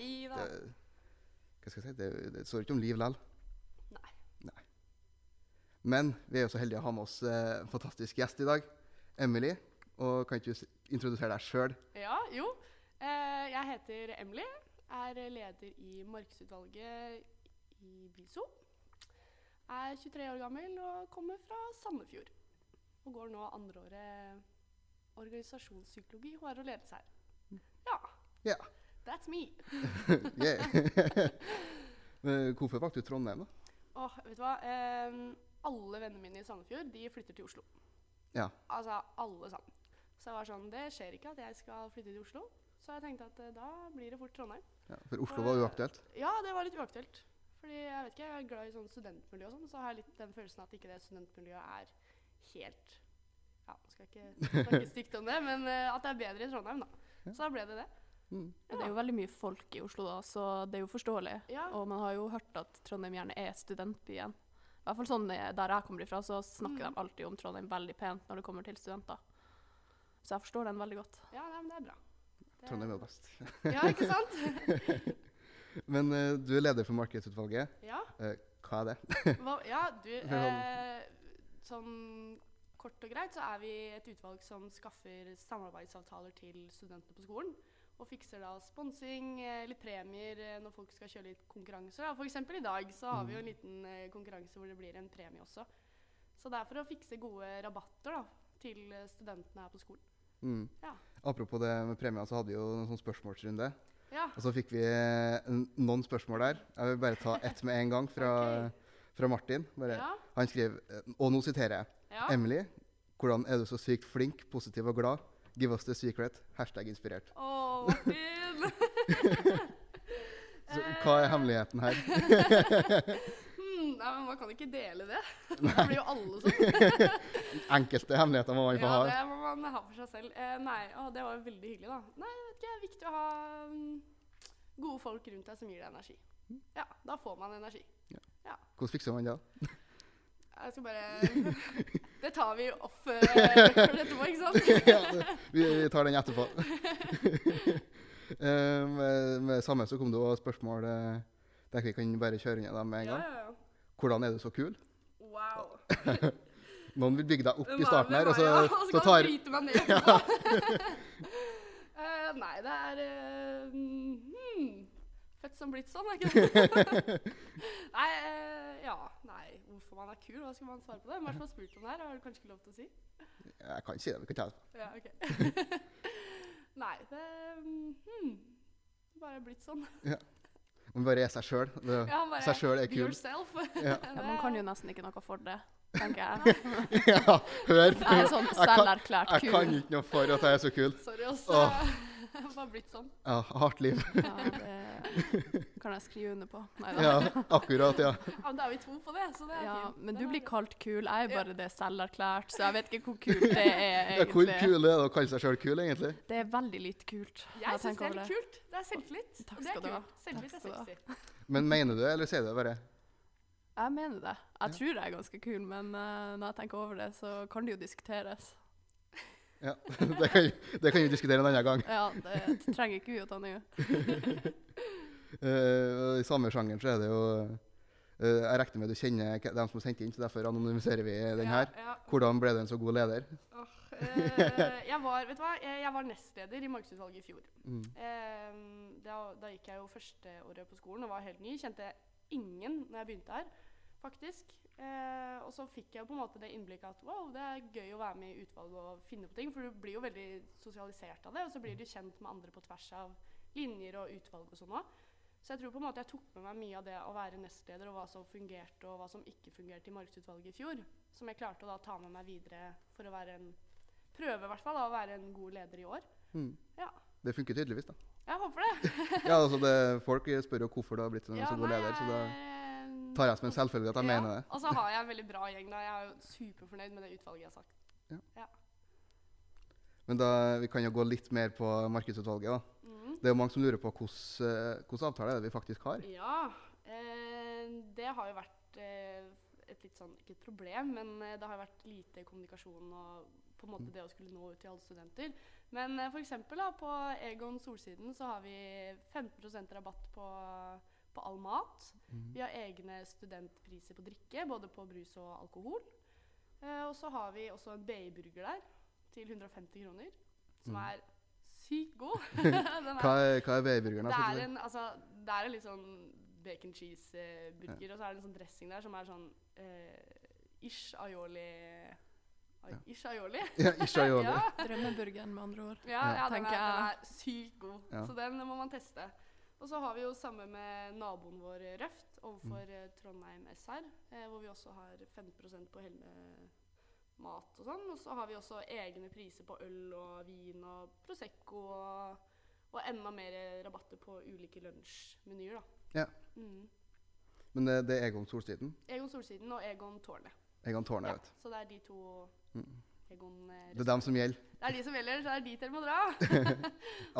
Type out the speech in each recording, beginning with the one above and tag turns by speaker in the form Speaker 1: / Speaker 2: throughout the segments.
Speaker 1: livet.
Speaker 2: det, hva skal jeg si, det, det står ikke om liv likevel.
Speaker 1: Nei.
Speaker 2: Men vi er jo så heldige å ha med oss eh, en fantastisk gjest i dag. Emily. Og kan ikke du s- introdusere deg sjøl?
Speaker 1: Ja, jo. Eh, jeg heter Emily. Er leder i markedsutvalget i Bilso. Er 23 år gammel og kommer fra Sandefjord. Og går nå andreåret organisasjonspsykologi, HR og ledelse her. Ja.
Speaker 2: Ja.
Speaker 1: That's me.
Speaker 2: Yeah. Men Hvorfor valgte du Trondheim, da?
Speaker 1: Åh, vet du hva? Em, alle vennene mine i Sandefjord de flytter til Oslo.
Speaker 2: Ja.
Speaker 1: Altså alle sammen. Så jeg var sånn, det skjer ikke at jeg skal flytte til Oslo. Så jeg tenkte at eh, da blir det fort Trondheim.
Speaker 2: Ja, for Oslo var uaktuelt.
Speaker 1: Ja, det var litt uaktuelt. Fordi jeg vet ikke, jeg er glad i sånn studentmiljø og sånn, så har jeg litt den følelsen at ikke det studentmiljøet er helt Ja, nå skal jeg ikke snakke stygt om det, men eh, at det er bedre i Trondheim, da.
Speaker 2: Ja.
Speaker 1: Så da ble det det.
Speaker 2: Mm.
Speaker 3: Det er jo veldig mye folk i Oslo, da, så det er jo forståelig.
Speaker 1: Ja,
Speaker 3: Og man har jo hørt at Trondheim gjerne er studentbyen. I hvert fall sånn eh, Der jeg kommer ifra, så
Speaker 1: Mm.
Speaker 3: snakker de alltid om Trondheim veldig pent når det kommer til studenter. Så jeg forstår den veldig godt.
Speaker 1: ja nei, men det er bra. Det-
Speaker 2: Trondheim er jo best.
Speaker 1: Ja, ikke sant?
Speaker 2: Men eh, du er leder for markedsutvalget.
Speaker 1: Ja.
Speaker 2: Hva er det?
Speaker 1: Hva, ja, du eh,
Speaker 2: Forhold.
Speaker 1: Sånn kort og greit så er vi et utvalg som skaffer samarbeidsavtaler til studentene på skolen. Og fikser da sponsing, eh, litt premier eh, når folk skal kjøre litt konkurranser. da. For eksempel i dag så har vi jo en liten eh, konkurranse hvor det blir en premie også. Så det er for å fikse gode rabatter da, til eh, studentene her på skolen.
Speaker 2: Mm.
Speaker 1: Ja.
Speaker 2: Apropos det med premien, så hadde vi jo en sånn spørsmålsrunde.
Speaker 1: Ja,
Speaker 2: Og så fikk vi eh, n- noen spørsmål der. Jeg vil bare ta ett med en gang fra,
Speaker 1: Ok.
Speaker 2: fra Martin. Bare,
Speaker 1: ja,
Speaker 2: Han skrev, eh, og nå siterer jeg.
Speaker 1: ja.
Speaker 2: Emily, hvordan er du så sykt flink, positiv og glad? Give us the secret. Hashtag inspirert.
Speaker 1: Å, Martin!
Speaker 2: Så,
Speaker 1: Eh.
Speaker 2: hva er hemmeligheten her?
Speaker 1: Hmm, nei, men man kan ikke dele det. Da blir jo alle sånn.
Speaker 2: Enkelte hemmeligheter må man få
Speaker 1: Ja,
Speaker 2: ha.
Speaker 1: det må man ha for seg selv. Eh, nei, å, det var jo veldig hyggelig, da. Nei, jeg vet ikke, det er viktig å ha mm, gode folk rundt deg som gir deg energi. Ja, da får man energi.
Speaker 2: Hvordan fikser man det?
Speaker 1: Jeg skal bare Det tar vi off eh, record etterpå, ikke sant?
Speaker 2: ja, det- vi, vi tar den etterpå. Eh, med, med samme så kom det også spørsmål eh, der vi kan bare kjøre ned dem med en
Speaker 1: Ja,
Speaker 2: gang.
Speaker 1: ja, ja.
Speaker 2: Hvordan er du så kul?
Speaker 1: Wow.
Speaker 2: Noen vil bygge deg opp
Speaker 1: Hvem
Speaker 2: i
Speaker 1: er-
Speaker 2: starten her,
Speaker 1: hvem er
Speaker 2: og så,
Speaker 1: jeg? og så
Speaker 2: så
Speaker 1: kan
Speaker 2: tar
Speaker 1: han bryte meg ned etterpå. Eh, nei, det er eh, hmm, Født som blitt sånn, er ikke det? nei, eh, ja. Nei, hvorfor man er kul? Hva skal man svare på det? Hvem er det som har spurt om det her? Har du kanskje ikke lov til å si?
Speaker 2: Jeg kan si det. Vi kan ta det.
Speaker 1: Ja, ok. Nei, det hmm, Bare blitt sånn.
Speaker 2: Man bare er seg sjøl.
Speaker 1: Ja, bare
Speaker 2: Seg sjøl er
Speaker 1: be
Speaker 2: kul.
Speaker 1: yourself.
Speaker 2: Ja.
Speaker 3: Ja, man kan jo nesten ikke noe for det, tenker jeg.
Speaker 1: Nei,
Speaker 2: ja, hør på
Speaker 3: Jeg er sånn
Speaker 2: kan-
Speaker 3: selverklært
Speaker 2: Jeg kan
Speaker 3: kul.
Speaker 2: ikke noe for at jeg er så kul.
Speaker 1: Sorry, også.
Speaker 2: Åh.
Speaker 1: bare blitt sånn.
Speaker 2: Ja, hardt liv.
Speaker 3: Ja, det kan jeg skrive under på. Nei da.
Speaker 2: Ja, akkurat, ja.
Speaker 1: Ja, men da er vi to på det, så det er
Speaker 3: Ja,
Speaker 1: fint.
Speaker 3: men
Speaker 1: Den
Speaker 3: du
Speaker 1: er
Speaker 3: blir
Speaker 1: bra.
Speaker 3: kalt kul. Jeg er bare det selverklært, så jeg vet ikke hvor kult det er
Speaker 2: ja hvor
Speaker 3: egentlig.
Speaker 2: kul er det å kalle seg sjøl kul, egentlig?
Speaker 3: Det er veldig lite kult. når
Speaker 1: Jeg syns
Speaker 3: tenker
Speaker 1: det er
Speaker 3: over
Speaker 1: litt kult. Det er selvtillit.
Speaker 3: Takk
Speaker 1: og det er
Speaker 3: skal du ha.
Speaker 1: kult. Selvtillit
Speaker 3: Takk
Speaker 1: er
Speaker 3: skal du
Speaker 1: sexy.
Speaker 2: Men mener du det, eller sier du det bare?
Speaker 3: Jeg mener det. Jeg
Speaker 2: Ja.
Speaker 3: tror jeg er ganske kul, men eh, når jeg tenker over det, så kan det jo diskuteres.
Speaker 2: Ja, Det kan, det kan vi diskutere en annen gang.
Speaker 3: Ja, det trenger ikke vi å ta nå.
Speaker 2: Eh, og I samme sjangeren så er det jo eh, Jeg regner med du kjenner k- dem som sendte inn, så derfor anonymiserer vi den her.
Speaker 1: Ja, ja.
Speaker 2: Hvordan ble du en så god leder?
Speaker 1: Åh, eh, jeg var, vet du hva? Jeg jeg var nestleder i markedsutvalget i fjor.
Speaker 2: Mm.
Speaker 1: Ehm, da, da gikk jeg jo førsteåret på skolen og var helt ny. Kjente ingen når jeg begynte her, faktisk. Eh, og så fikk jeg jo på en måte det innblikket at wow, det er gøy å være med i utvalget og finne på ting. For du blir jo veldig sosialisert av det, og så blir du kjent med andre på tvers av linjer og utvalg og sånn òg. Så jeg tror på en måte jeg tok med meg mye av det å være nestleder, og hva som fungerte og hva som ikke fungerte i markedsutvalget i fjor. Som jeg klarte å da ta med meg videre for å være en prøve, i hvert fall, da, å være en god leder i år.
Speaker 2: Mm.
Speaker 1: Ja.
Speaker 2: Det funker tydeligvis, da.
Speaker 1: Jeg håper det.
Speaker 2: Ja, altså det, Folk spør jo hvorfor du har blitt en så god
Speaker 1: nei,
Speaker 2: leder, så da
Speaker 1: jeg-
Speaker 2: tar jeg som en selvfølge at jeg
Speaker 1: Ja,
Speaker 2: mener det.
Speaker 1: Og så har jeg en veldig bra gjeng. da. Jeg er jo superfornøyd med det utvalget jeg har sagt.
Speaker 2: Men da, vi kan jo gå litt mer på markedsutvalget. da.
Speaker 1: Mhm.
Speaker 2: Det er jo mange som lurer på hvilken avtale er det vi faktisk har.
Speaker 1: Ja. Eh, det har jo vært eh, et litt sånn Ikke et problem, men eh, det har jo vært lite kommunikasjon og på en måte det å skulle nå ut til alle studenter. Men eh, for eksempel, da, på Egon Solsiden så har vi 15 rabatt på, på all mat.
Speaker 2: Mm.
Speaker 1: Vi har egne studentpriser på drikke, både på brus og alkohol. Eh, og så har vi også en BI-burger der til 150 kroner, som
Speaker 2: Mm.
Speaker 1: er sykt god. Den er
Speaker 2: Hva er, hva er veiburgeren?
Speaker 1: det er
Speaker 2: da?
Speaker 1: en, altså, det er en litt sånn bacon cheese-burger, og så er det en sånn dressing der som er sånn eh, ish aioli ai-
Speaker 2: Ja.
Speaker 1: Ish aioli.
Speaker 2: Ja, ikke aioli.
Speaker 1: ja,
Speaker 3: Drømmeburgeren, med andre ord.
Speaker 1: ja, ja den,
Speaker 3: Tenker
Speaker 1: er, den
Speaker 3: jeg.
Speaker 1: er sykt god,
Speaker 2: Ja.
Speaker 1: så den må man teste. Og så har vi jo samme med naboen vår eh, Røft overfor
Speaker 2: Mm.
Speaker 1: eh, Trondheim SR, eh, hvor vi også har 15 på hele mat og sånn. Og så har vi også egne priser på øl og vin og Prosecco og, og enda mer eh, rabatter på ulike lunsjmenyer, da.
Speaker 2: Ja.
Speaker 1: Mm.
Speaker 2: Men eh, det, det er Egon Solsiden.
Speaker 1: Egon Solsiden og Egon Tårnet.
Speaker 2: Egon Tårnet,
Speaker 1: Ja,
Speaker 2: vet
Speaker 1: så det er de to
Speaker 2: Mm.
Speaker 1: Egon eh,
Speaker 2: du. Det er dem som gjelder.
Speaker 1: det er de som gjelder, så det er dit dere må dra.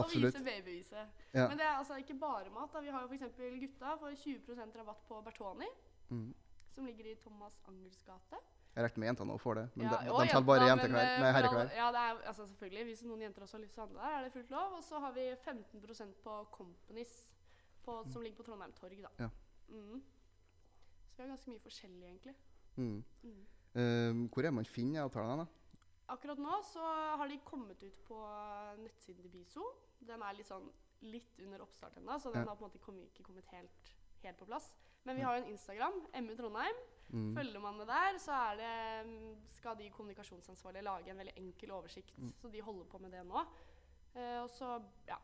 Speaker 2: Absolutt.
Speaker 1: Og vise babyviset.
Speaker 2: Ja.
Speaker 1: Men det er altså ikke bare mat. Da. Vi har jo f.eks. gutta får 20 rabatt på Bertoni,
Speaker 2: Mm.
Speaker 1: som ligger i Thomas Angels gate.
Speaker 2: Jeg regner med jentene òg får det, men de,
Speaker 1: og
Speaker 2: de selger bare
Speaker 1: jenta, men,
Speaker 2: jenteklær.
Speaker 1: eh,
Speaker 2: Nei,
Speaker 1: for
Speaker 2: herreklær.
Speaker 1: alle- Ja, det er, altså, selvfølgelig. Hvis noen jenter også har lyst til å handle der, er det fullt lov. Og så har vi 15 på Companies, på, som ligger på Trondheim Torg, da.
Speaker 2: Ja.
Speaker 1: Mm. Så vi har ganske mye forskjellig, egentlig.
Speaker 2: Mm.
Speaker 1: Mm.
Speaker 2: Eh, hvor er man finner avtalene? da?
Speaker 1: Akkurat nå så har de kommet ut på nettsiden til Biso. Den er litt sånn litt under oppstart ennå, så den
Speaker 2: Ja.
Speaker 1: har på en måte kommet, ikke kommet helt, helt på plass. Men vi har jo en Instagram, MU Trondheim.
Speaker 2: Mm.
Speaker 1: Følger man med der, så er det, mm, skal de kommunikasjonsansvarlige lage en veldig enkel oversikt.
Speaker 2: Mm.
Speaker 1: Så de holder på med det nå. Eh, og så, ja,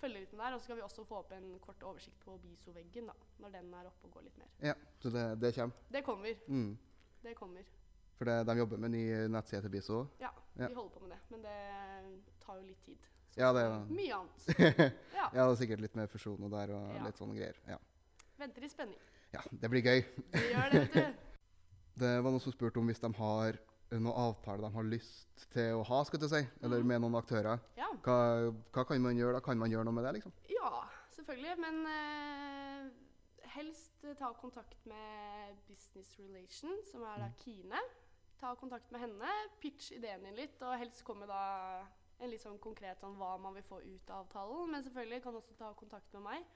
Speaker 1: følger litt med der. Og så skal vi også få opp en kort oversikt på Biso-veggen, da. Når den er oppe og går litt mer.
Speaker 2: Ja, så det, det kommer.
Speaker 1: Det kommer.
Speaker 2: Mm.
Speaker 1: Det kommer.
Speaker 2: For det, de jobber med ny nettside til Biso òg.
Speaker 1: Ja,
Speaker 2: Ja.
Speaker 1: vi holder på med det. Men det tar jo litt tid. Så
Speaker 2: Ja, det er-
Speaker 1: Mye annet. Ja,
Speaker 2: Ja, det er sikkert litt med fusjoner der og
Speaker 1: Ja.
Speaker 2: litt sånne greier. Ja.
Speaker 1: Venter i spenning.
Speaker 2: ja, det blir gøy.
Speaker 1: Vi gjør det, vet du.
Speaker 2: Det var noen som spurte om hvis de har eh, noen avtale de har lyst til å ha, skal jeg til å si,
Speaker 1: Mm.
Speaker 2: eller med noen aktører.
Speaker 1: Ja,
Speaker 2: Hva, hva kan man gjøre da? Kan man gjøre noe med det, liksom?
Speaker 1: ja selvfølgelig. Men eh, helst eh, ta kontakt med Business Relation, som er da Kine. Ta kontakt med henne, pitch ideen din litt, og helst komme da en litt sånn konkret om hva man vil få ut av avtalen. Men selvfølgelig kan du også ta kontakt med meg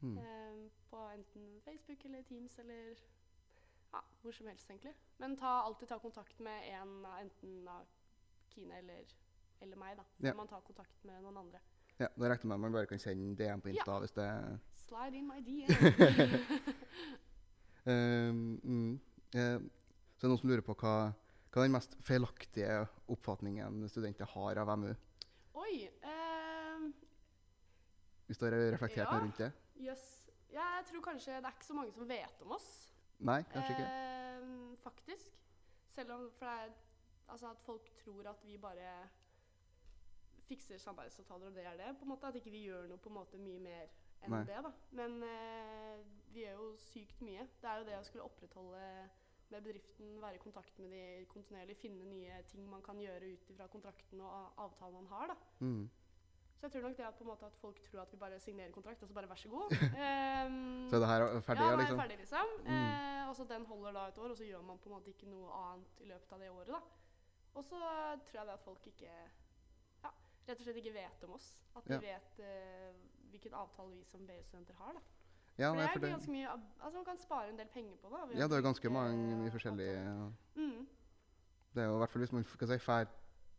Speaker 2: Mm.
Speaker 1: eh, på enten Facebook eller Teams eller ja, hvor som helst, egentlig. Men ta, alltid ta kontakt med en, av- enten av Kine eller, eller meg, da.
Speaker 2: Ja.
Speaker 1: Når man tar kontakt med noen andre.
Speaker 2: Ja, Da regner jeg med at man bare kan sende DM på Insta hvis det
Speaker 1: Slide in my DM.
Speaker 2: Eh, mm, eh, Så er det noen som lurer på hva, hva er den mest feilaktige oppfatningen studenter har av MU?
Speaker 1: Oi! eh,
Speaker 2: Hvis du har reflektert
Speaker 1: Ja.
Speaker 2: noe rundt det?
Speaker 1: Jøss. Jeg tror kanskje det er ikke så mange som vet om oss.
Speaker 2: Nei, kanskje ikke.
Speaker 1: Eh, faktisk. Selv om for det er, altså at folk tror at vi bare fikser samarbeidsavtaler, og det er det. på en måte, At ikke vi gjør noe på en måte mye mer enn
Speaker 2: Nei.
Speaker 1: det. da. Men eh, vi gjør jo sykt mye. Det er jo det å skulle opprettholde med bedriften, være i kontakt med de kontinuerlig, finne nye ting man kan gjøre ut ifra kontrakten og a- avtalen man har. da.
Speaker 2: Mm.
Speaker 1: Så jeg tror nok det at, på en måte, at folk tror at vi bare signerer kontrakt, og så bare vær så god. Ehm,
Speaker 2: Så er det her er ferdig,
Speaker 1: ja, nå er jeg
Speaker 2: liksom?
Speaker 1: ferdig, liksom.
Speaker 2: Mm.
Speaker 1: Eh, og så den holder da et år, og så gjør man på en måte ikke noe annet i løpet av det året, da. Og så tror jeg det at folk ikke ja, rett og slett ikke vet om oss. At de
Speaker 2: Ja.
Speaker 1: vet eh, hvilken avtale vi som BU-studenter har, da.
Speaker 2: Ja,
Speaker 1: for
Speaker 2: nei,
Speaker 1: det er
Speaker 2: for det,
Speaker 1: ganske mye ab- Altså, man kan spare en del penger på det. da, ved
Speaker 2: ja,
Speaker 1: å
Speaker 2: det er jo ganske
Speaker 1: bruke
Speaker 2: mange mye
Speaker 1: avtaler.
Speaker 2: forskjellige
Speaker 1: Mm.
Speaker 2: Det er jo i hvert fall hvis man skal si fær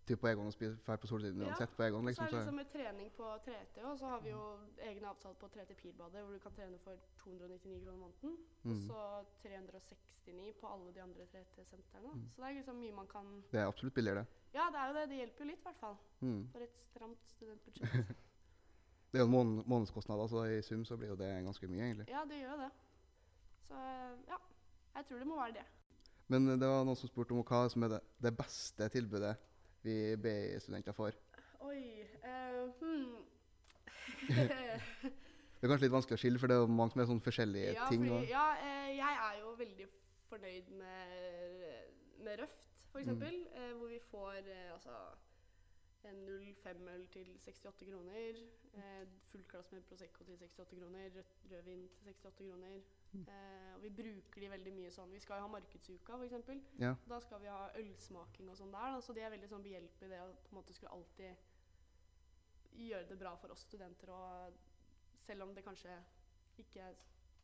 Speaker 2: typ på Egon og spiser fær på Solsiden
Speaker 1: Ja.
Speaker 2: uansett på Egon, liksom.
Speaker 1: så er det
Speaker 2: Så, Mm.
Speaker 1: liksom med trening på 3T, og så har vi jo egne avtaler på 3T Pilbadet, hvor du kan trene for 299 kroner måneden. Og
Speaker 2: Mm.
Speaker 1: så 369 på alle de andre 3T-sentrene. Så det er liksom mye man kan
Speaker 2: det er absolutt billigere.
Speaker 1: Ja, det er jo det. Det hjelper jo litt, i hvert fall.
Speaker 2: Mm.
Speaker 1: For et stramt studentbudsjett.
Speaker 2: Det er jo måned, månedskostnader, så altså, i sum så blir jo det ganske mye, egentlig.
Speaker 1: ja, det gjør jo det. Så ja. Jeg tror det må være det.
Speaker 2: Men eh, det var noen som spurte om hva som er det, det beste tilbudet vi BI-studenter får.
Speaker 1: Oi eh, hmm.
Speaker 2: Det er kanskje litt vanskelig å skille, for det er jo mange som er sånn forskjellige
Speaker 1: ja,
Speaker 2: ting.
Speaker 1: fordi,
Speaker 2: og-
Speaker 1: ja, eh, jeg er jo veldig fornøyd
Speaker 2: Mm.
Speaker 1: med, med Røft, f.eks., eksempel, eh, hvor vi får eh, altså eh, 05-øl til 68 kroner. Eh, fullt glass med Prosecco til 68 kroner. Rødt rødvin til 68 kroner.
Speaker 2: Mm.
Speaker 1: Eh, og vi bruker de veldig mye sånn. Vi skal jo ha markedsuka, f.eks.
Speaker 2: Ja.
Speaker 1: Da skal vi ha ølsmaking og sånn der, da, så de er veldig sånn behjelpelige i det å på en måte skulle alltid gjøre det bra for oss studenter. Og selv om det kanskje ikke er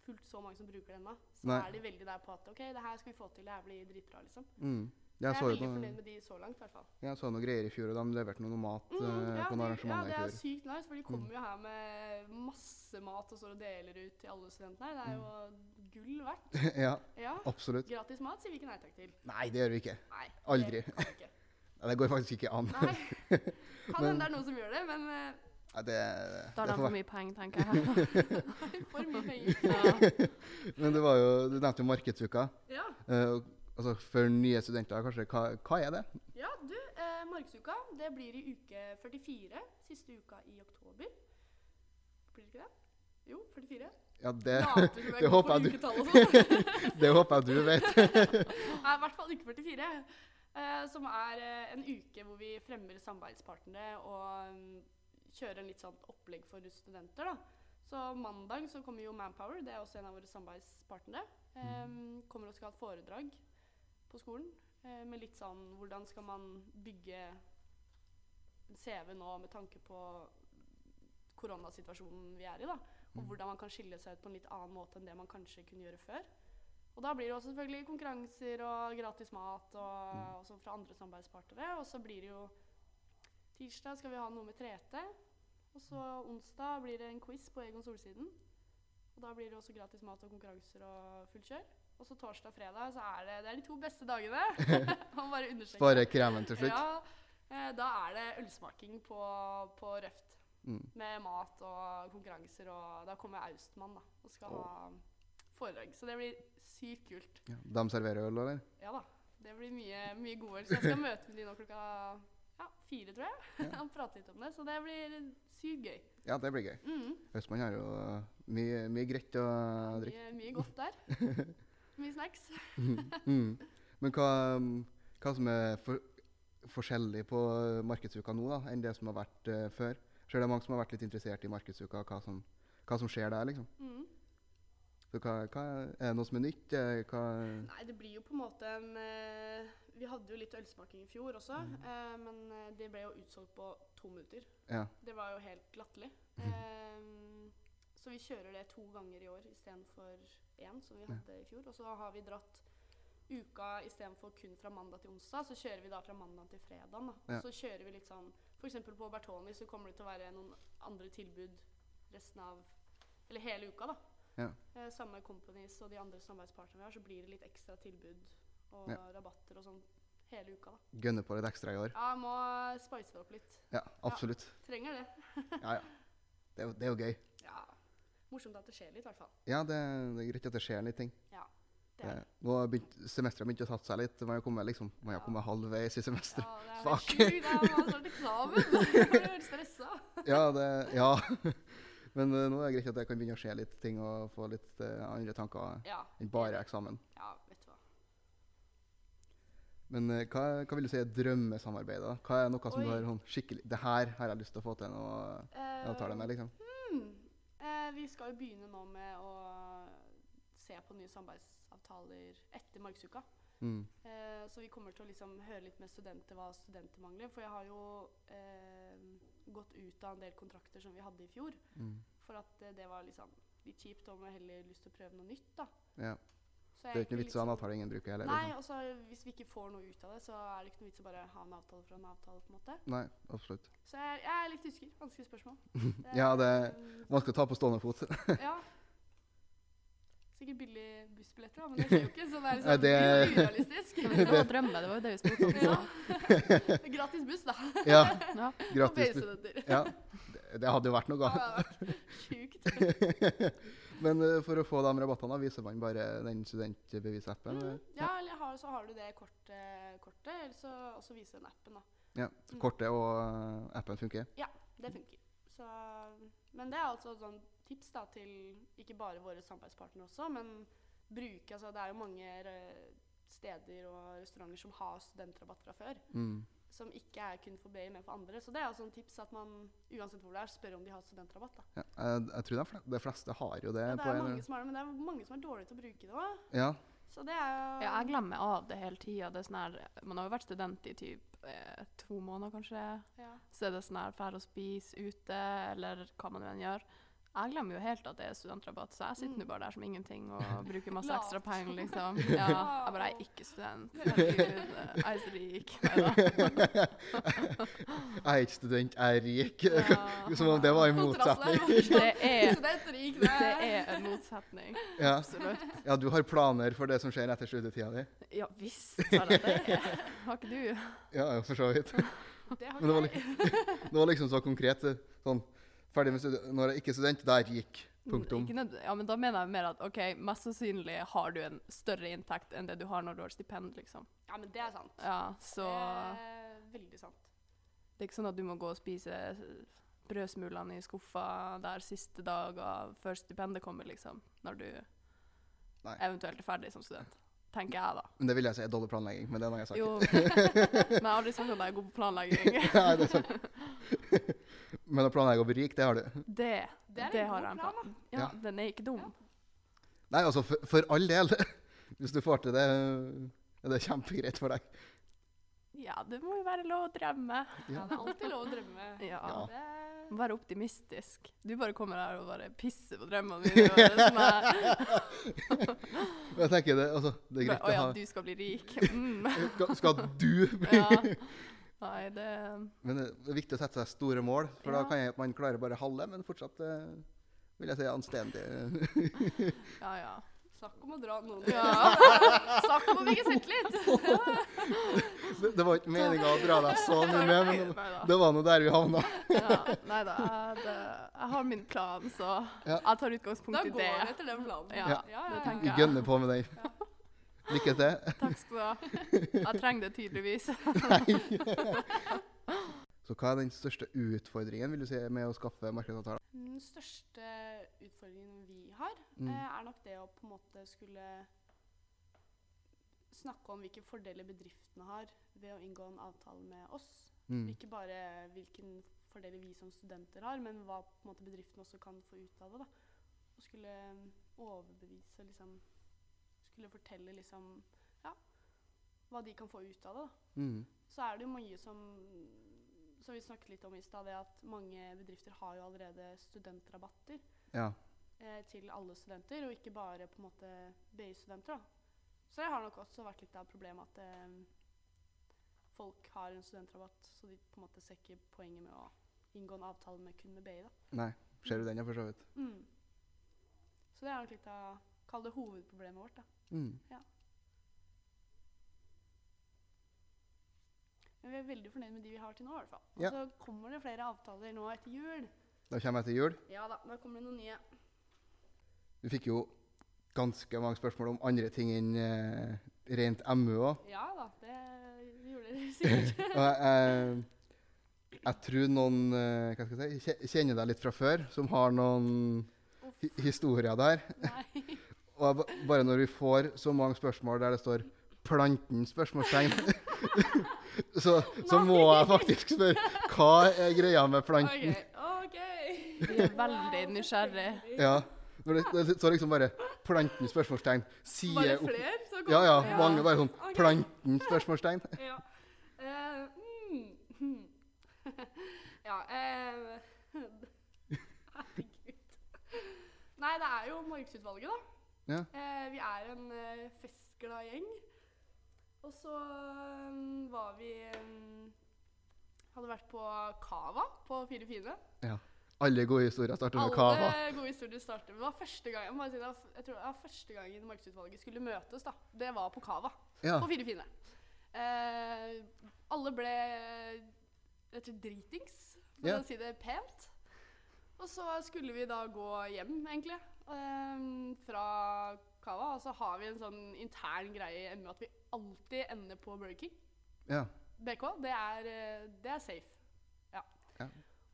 Speaker 1: fullt så mange som bruker det ennå, så
Speaker 2: Nei.
Speaker 1: er de veldig der på at OK, det her skal vi få til, det her blir dritbra, liksom.
Speaker 2: Mm. Jeg
Speaker 1: Jeg
Speaker 2: så
Speaker 1: er
Speaker 2: jo
Speaker 1: veldig
Speaker 2: noe,
Speaker 1: fornøyd med de så langt, i hvert fall.
Speaker 2: jeg så noe greier i fjor, og de leverte noe mat
Speaker 1: Mm,
Speaker 2: eh,
Speaker 1: ja,
Speaker 2: på noen
Speaker 1: det- ja,
Speaker 2: arrangementer
Speaker 1: det
Speaker 2: i
Speaker 1: er
Speaker 2: fjor. Mm.
Speaker 1: sykt nice, for de kommer jo her med masse mat og står og deler ut til alle studentene her. Det er
Speaker 2: Mm.
Speaker 1: jo gull verdt.
Speaker 2: ja,
Speaker 1: Ja.
Speaker 2: absolutt.
Speaker 1: Gratis mat sier vi ikke nei takk til.
Speaker 2: Nei, det gjør vi ikke.
Speaker 1: Nei.
Speaker 2: Aldri.
Speaker 1: Det kan vi ikke.
Speaker 2: Nei, Det går faktisk ikke an.
Speaker 1: Nei. Kan
Speaker 2: Men-
Speaker 1: hende det er noen som gjør det, men eh,
Speaker 2: Nei, det,
Speaker 3: Da har
Speaker 2: det
Speaker 3: de
Speaker 2: får
Speaker 3: for
Speaker 2: være.
Speaker 3: mye penger, tenker jeg.
Speaker 1: for mye penger.
Speaker 3: Ja.
Speaker 2: Men det var jo, du nevnte jo markedsuka.
Speaker 1: Ja,
Speaker 2: Eh, og- altså For nye studenter, kanskje. Hva, hva er det?
Speaker 1: ja du, eh, Markedsuka det blir i uke 44, siste uka i oktober. Blir det ikke det? Jo, 44.
Speaker 2: Ja, det,
Speaker 1: Later som
Speaker 2: det
Speaker 1: jeg går på
Speaker 2: håper jeg du-
Speaker 1: uketall og sånn.
Speaker 2: det håper jeg du vet.
Speaker 1: Nei, I hvert fall uke 44. Eh, som er eh, en uke hvor vi fremmer samarbeidspartnere og mm, kjører en litt sånn opplegg for studenter. da. Så mandag så kommer jo Manpower, det er også en av våre samarbeidspartnere. Eh, kommer og skal ha et foredrag på skolen eh, med litt sånn hvordan skal man bygge en CV nå med tanke på koronasituasjonen vi er i, da. Og
Speaker 2: Mm.
Speaker 1: hvordan man kan skille seg ut på en litt annen måte enn det man kanskje kunne gjøre før. Og da blir det også selvfølgelig konkurranser og gratis mat og,
Speaker 2: Mm.
Speaker 1: og sånn fra andre samarbeidspartnere. Og så blir det jo Tirsdag skal vi ha noe med 3T. Og så
Speaker 2: Mm.
Speaker 1: onsdag blir det en quiz på Egon Solsiden. Og da blir det også gratis mat og konkurranser og fullt kjør. Og så torsdag og fredag så er det, det er de to beste dagene. Man bare understreker.
Speaker 2: Bare kremen til slutt.
Speaker 1: Ja, eh, da er det ølsmaking på, på Røft.
Speaker 2: Mm.
Speaker 1: Med mat og konkurranser, og da kommer Austmann da, og skal
Speaker 2: Åh.
Speaker 1: ha foredrag. Så det blir sykt kult.
Speaker 2: Ja. De serverer øl, eller?
Speaker 1: Ja da. Det blir mye, mye god øl. Så jeg skal møte med de nå klokka ja, fire, tror jeg.
Speaker 2: Ja.
Speaker 1: og prate litt om det. Så det blir sykt gøy.
Speaker 2: Ja, det blir gøy.
Speaker 1: Mm.
Speaker 2: Østmann har jo eh, mye, mye greit å drikke.
Speaker 1: Mye, mye godt der. Mye snacks.
Speaker 2: Mm. Men hva, mm, hva som er for, forskjellig på markedsuka nå da, enn det som har vært eh, før? Ser det er mange som har vært litt interessert i markedsuka, hva som, hva som skjer der? liksom.
Speaker 1: Mm.
Speaker 2: Så hva, hva, er det noe som er nytt? Eh, Hva,
Speaker 1: Nei, det blir jo på en måte en eh, Vi hadde jo litt ølsmaking i fjor også,
Speaker 2: Mhm.
Speaker 1: eh, men eh, det ble jo utsolgt på to minutter.
Speaker 2: ja. Mhm.
Speaker 1: Det var jo helt latterlig. Eh, så vi kjører det to ganger i år istedenfor én, som vi
Speaker 2: Ja.
Speaker 1: hadde i fjor. Og så har vi dratt uka istedenfor kun fra mandag til onsdag, så kjører vi da fra mandag til fredag. Da. Og
Speaker 2: Ja.
Speaker 1: Så kjører vi litt sånn F.eks. på Bertoni så kommer det til å være noen andre tilbud resten av Eller hele uka, da.
Speaker 2: Ja.
Speaker 1: Eh, samme companies og de andre samarbeidspartnerne vi har, så blir det litt ekstra tilbud og
Speaker 2: Ja.
Speaker 1: rabatter og sånn hele uka, da.
Speaker 2: Gønne på litt ekstra i år?
Speaker 1: Ja, jeg må spice det opp litt.
Speaker 2: Ja, absolutt.
Speaker 1: Trenger det.
Speaker 2: Ja, ja. Det er, jo, det er jo gøy.
Speaker 1: Ja. Morsomt at det skjer litt, i hvert fall.
Speaker 2: Ja, det, det er greit at det skjer litt ting.
Speaker 1: Ja. Det
Speaker 2: Det,
Speaker 1: er det.
Speaker 2: nå har begynt, semesteret har begynt å satse seg litt. Man har kommet, liksom, man har
Speaker 1: Ja.
Speaker 2: kommet halvveis i
Speaker 1: Ja,
Speaker 2: semesteret.
Speaker 1: det er
Speaker 2: Fuck.
Speaker 1: helt sjukt. Jeg har snart eksamen. Jeg blir helt stressa.
Speaker 2: Ja, det, ja. Men eh, nå er det greit at det kan begynne å skje litt ting og få litt eh, andre tanker
Speaker 1: Ja.
Speaker 2: enn bare eksamen.
Speaker 1: ja, vet du hva.
Speaker 2: Men eh, hva, hva vil du si er drømmesamarbeidet? da? Hva er noe som du
Speaker 1: Oi.
Speaker 2: har sånn skikkelig Det her har jeg lyst til å få til nå.
Speaker 1: Eh,
Speaker 2: Avtale med, liksom.
Speaker 1: hmm. Eh, vi skal jo begynne nå med å se på nye samarbeidsavtaler etter markedsuka.
Speaker 2: Mm.
Speaker 1: Eh, så vi kommer til å liksom høre litt med studenter hva studenter mangler. For jeg har jo eh, gått ut av en del kontrakter som vi hadde i fjor.
Speaker 2: Mm.
Speaker 1: For at eh, det var liksom litt kjipt, og man har heller lyst til å prøve noe nytt. da.
Speaker 2: Ja.
Speaker 1: Så jeg
Speaker 2: Det er jo
Speaker 1: egentlig
Speaker 2: ikke noe
Speaker 1: litt
Speaker 2: vits å ha en
Speaker 1: sånn-
Speaker 2: avtale ingen bruker heller.
Speaker 1: Nei,
Speaker 2: Liksom.
Speaker 1: og så hvis vi ikke får noe ut av det, så er det ikke noe vits å bare ha en avtale for en avtale. på en måte.
Speaker 2: liksom. Nei, absolutt.
Speaker 1: Så jeg, jeg er litt usikker. Vanskelig spørsmål. Det
Speaker 2: Ja,
Speaker 1: er,
Speaker 2: det-
Speaker 1: um,
Speaker 2: Vanskelig å ta på stående fot.
Speaker 1: ja. Sikkert billige bussbilletter, da, men det skjer jo ikke. Så det er liksom,
Speaker 2: Nei,
Speaker 1: det er
Speaker 2: det-
Speaker 1: jo urealistisk.
Speaker 3: Det var jo drømme, det var jo det vi spurte om.
Speaker 1: Ja.
Speaker 3: så.
Speaker 1: Gratis buss, da.
Speaker 2: ja,
Speaker 3: Ja.
Speaker 2: gratis.
Speaker 1: For BU-studenter.
Speaker 2: Ja, det, det hadde jo vært noe.
Speaker 1: Det hadde vært sjukt.
Speaker 2: Men eh, for å få de rabattene da, viser man bare den studentbevisappen.
Speaker 1: Mm.
Speaker 2: eh,
Speaker 1: Ja, eller har, så har du det kortet, kortet eller så også viser den appen, da.
Speaker 2: ja.
Speaker 1: Mm.
Speaker 2: Kortet og eh, appen funker.
Speaker 1: Det funker. Så, men det er altså et sånn tips da, til ikke bare våre samarbeidspartnere også, men bruke altså, Det er jo mange eh, steder og restauranter som har studentrabatt fra før.
Speaker 2: Mm.
Speaker 1: som ikke er kun for BI, men for andre. Så det er også en tips at man uansett hvor det er, spør om de har studentrabatt. Da.
Speaker 2: Ja, jeg, jeg tror de fleste, de fleste har jo det.
Speaker 1: Ja, det
Speaker 2: på
Speaker 1: er
Speaker 2: en eh, eller
Speaker 1: mange
Speaker 2: annen-
Speaker 1: som har det, men det er mange som er dårlige til å bruke det òg.
Speaker 2: Ja,
Speaker 1: Så det er jo
Speaker 3: Ja, jeg glemmer av det hele tida. Det er sånn her, man har jo vært student i typ eh, to måneder, kanskje.
Speaker 1: ja.
Speaker 3: Så er det sånn her fær å spise ute, eller hva man nå enn gjør. Jeg glemmer jo helt at det er studentrabatt, så jeg sitter nå bare der som ingenting og bruker masse
Speaker 1: Lat.
Speaker 3: ekstra penger, liksom. Ja, jeg bare jeg er ikke student. Herregud, jeg er så rik.
Speaker 2: jeg er ikke student, jeg er rik.
Speaker 3: Neida.
Speaker 2: Som om det var en
Speaker 1: Kontrasten er
Speaker 2: motsetning.
Speaker 1: jo
Speaker 3: Det er,
Speaker 1: Studentrik,
Speaker 3: det er en motsetning.
Speaker 2: Ja.
Speaker 3: Absolutt.
Speaker 2: ja, du har planer for det som skjer etter studietida di?
Speaker 3: Ja visst har jeg det. Har ikke du?
Speaker 2: Ja, ja, for så vidt.
Speaker 1: Det har
Speaker 2: Men det var
Speaker 1: ikke jeg.
Speaker 2: Det var liksom så konkret. eh, Sånn, ferdig med studiet. Når jeg ikke er student, der gikk.
Speaker 1: Mm,
Speaker 2: Punktum.
Speaker 3: Ikke nød- Ja, men da mener jeg mer at ok, mest sannsynlig har du en større inntekt enn det du har når du har stipend, liksom.
Speaker 1: Ja, men det er sant.
Speaker 3: Ja, så
Speaker 1: Det er veldig sant.
Speaker 3: det er ikke sånn at du må gå og spise brødsmulene i skuffa der siste dag av før stipendet kommer, liksom. Når du
Speaker 2: Nei.
Speaker 3: eventuelt er ferdig som student. Tenker jeg, da.
Speaker 2: Men det vil jeg si er dårlig planlegging. Men det er noe jeg har sagt.
Speaker 3: Jo. Men jeg har aldri sagt at jeg er god på planlegging.
Speaker 2: Nei, det er sant. Men å planlegge å bli rik, det har du.
Speaker 3: Det,
Speaker 1: Det er en
Speaker 3: det har
Speaker 1: god
Speaker 3: jeg en
Speaker 1: plan,
Speaker 3: plan. Ja,
Speaker 2: Ja.
Speaker 3: den er ikke dum.
Speaker 2: Nei, altså, for, for all del. Hvis du får til det, er det kjempegreit for deg.
Speaker 3: Ja, det må jo være lov å drømme.
Speaker 1: Ja, det er alltid lov å drømme.
Speaker 3: Ja.
Speaker 1: Det
Speaker 3: Må Være optimistisk. Du bare kommer her og bare pisser på drømmene mine. og det som er- sånn
Speaker 2: Men jeg tenker det, altså, det er
Speaker 3: Bare,
Speaker 2: greit
Speaker 3: Å
Speaker 2: å
Speaker 3: ja,
Speaker 2: ha
Speaker 3: du skal bli rik. Mm.
Speaker 2: Skal, skal du bli
Speaker 3: Ja. Nei, det
Speaker 2: Men det er viktig å sette seg store mål, for da
Speaker 3: Ja.
Speaker 2: kan jeg, man klare bare halve, men fortsatt eh, vil jeg si anstendig.
Speaker 3: Ja, ja.
Speaker 1: er snakk om å dra noen
Speaker 3: ja.
Speaker 1: Snakk om å bygge selvtillit!
Speaker 2: Det, det var ikke meninga å dra deg så mye med, men
Speaker 3: Neida.
Speaker 2: det var nå der vi havna.
Speaker 3: Ja, neida, jeg- det- Jeg har min plan, så
Speaker 2: Ja.
Speaker 3: jeg tar
Speaker 1: Da
Speaker 3: utgangspunkt i
Speaker 1: går det
Speaker 3: det.
Speaker 1: etter den planen.
Speaker 3: Ja, det tenker
Speaker 2: Vi
Speaker 3: Ja.
Speaker 2: gønner på med den. Lykke til.
Speaker 3: Takk skal du ha. Jeg trenger det tydeligvis.
Speaker 2: Så hva er den største utfordringen vil du si, med å skaffe
Speaker 3: Eh,
Speaker 2: markedsavtaler?
Speaker 1: Den største utfordringen vi har,
Speaker 2: Mm.
Speaker 1: eh, er nok det å på en måte skulle snakke om hvilke fordeler bedriftene har ved å inngå en avtale med oss.
Speaker 2: Mm.
Speaker 1: Ikke bare hvilken fordeler vi som studenter har, men hva på en måte bedriften også kan få ut av det. Da. Og skulle um, overbevise liksom Skulle fortelle liksom Ja, hva de kan få ut av det. Da
Speaker 2: Mm.
Speaker 1: så er det jo mange som som vi snakket litt om i stad, det at mange bedrifter har jo allerede studentrabatter
Speaker 2: Ja.
Speaker 1: eh, til alle studenter, og ikke bare på en måte BI-studenter. da. Så det har nok også vært litt av problemet at eh, folk har en studentrabatt, så de på en måte ser ikke poenget med å inngå en avtale med kun med BI. da.
Speaker 2: Nei. Ser du den, ja, for så vidt.
Speaker 1: Mm. Så det er nok litt av Kall det hovedproblemet vårt. da.
Speaker 2: Mm.
Speaker 1: Men vi er veldig fornøyd med de vi har til nå. i hvert fall. Og
Speaker 2: Ja.
Speaker 1: så kommer det flere avtaler nå etter jul.
Speaker 2: Da kommer jeg til jul.
Speaker 1: Ja da, da kommer det noen nye.
Speaker 2: Du fikk jo ganske mange spørsmål om andre ting enn eh, rent MU òg.
Speaker 1: Ja da, det gjorde dere sikkert.
Speaker 2: Og jeg, jeg, jeg tror noen eh, hva skal jeg si, kje- kjenner deg litt fra før, som har noen hi historier der.
Speaker 1: Nei.
Speaker 2: Og jeg, ba- bare når vi får så mange spørsmål der det står 'planten?' spørsmålstegn, så, så må jeg faktisk spørre hva er greia med planten?
Speaker 1: OK. ok.
Speaker 3: Vi er veldig nysgjerrig.
Speaker 2: Ja, når det, det står liksom bare 'planten?' spørsmålstegn.
Speaker 1: Bare
Speaker 2: Sier opp
Speaker 1: flere? Så
Speaker 2: Ja, ja.
Speaker 1: kommer det-
Speaker 2: Mange bare sånn
Speaker 1: Ok.
Speaker 2: 'planten?' spørsmålstegn.
Speaker 1: Ja. Eh, mm, hmm. ja eh, Herregud. Nei, det er jo Markedsutvalget, da.
Speaker 2: Ja.
Speaker 1: Eh, vi er en eh, festglad gjeng. Og så mm, var vi mm, Hadde vært på Cava på Fire fine.
Speaker 2: Alle gode historier starter med
Speaker 1: Alle
Speaker 2: kava.
Speaker 1: gode historier starter med Det var første gang, jeg, må bare si, det var, f- jeg tror det var første gangen Markedsutvalget skulle møtes. da. Det var på Cava
Speaker 2: Ja.
Speaker 1: på Fire fine. Eh, alle ble rett og slett dritings, for
Speaker 2: Ja.
Speaker 1: å si det pent. Og så skulle vi da gå hjem, egentlig, eh, fra Cava. Og så har vi en sånn intern greie i MU at vi alltid ender på Burger King.
Speaker 2: ja.
Speaker 1: BK, det er, eh, det er safe. Ja.
Speaker 2: Ja.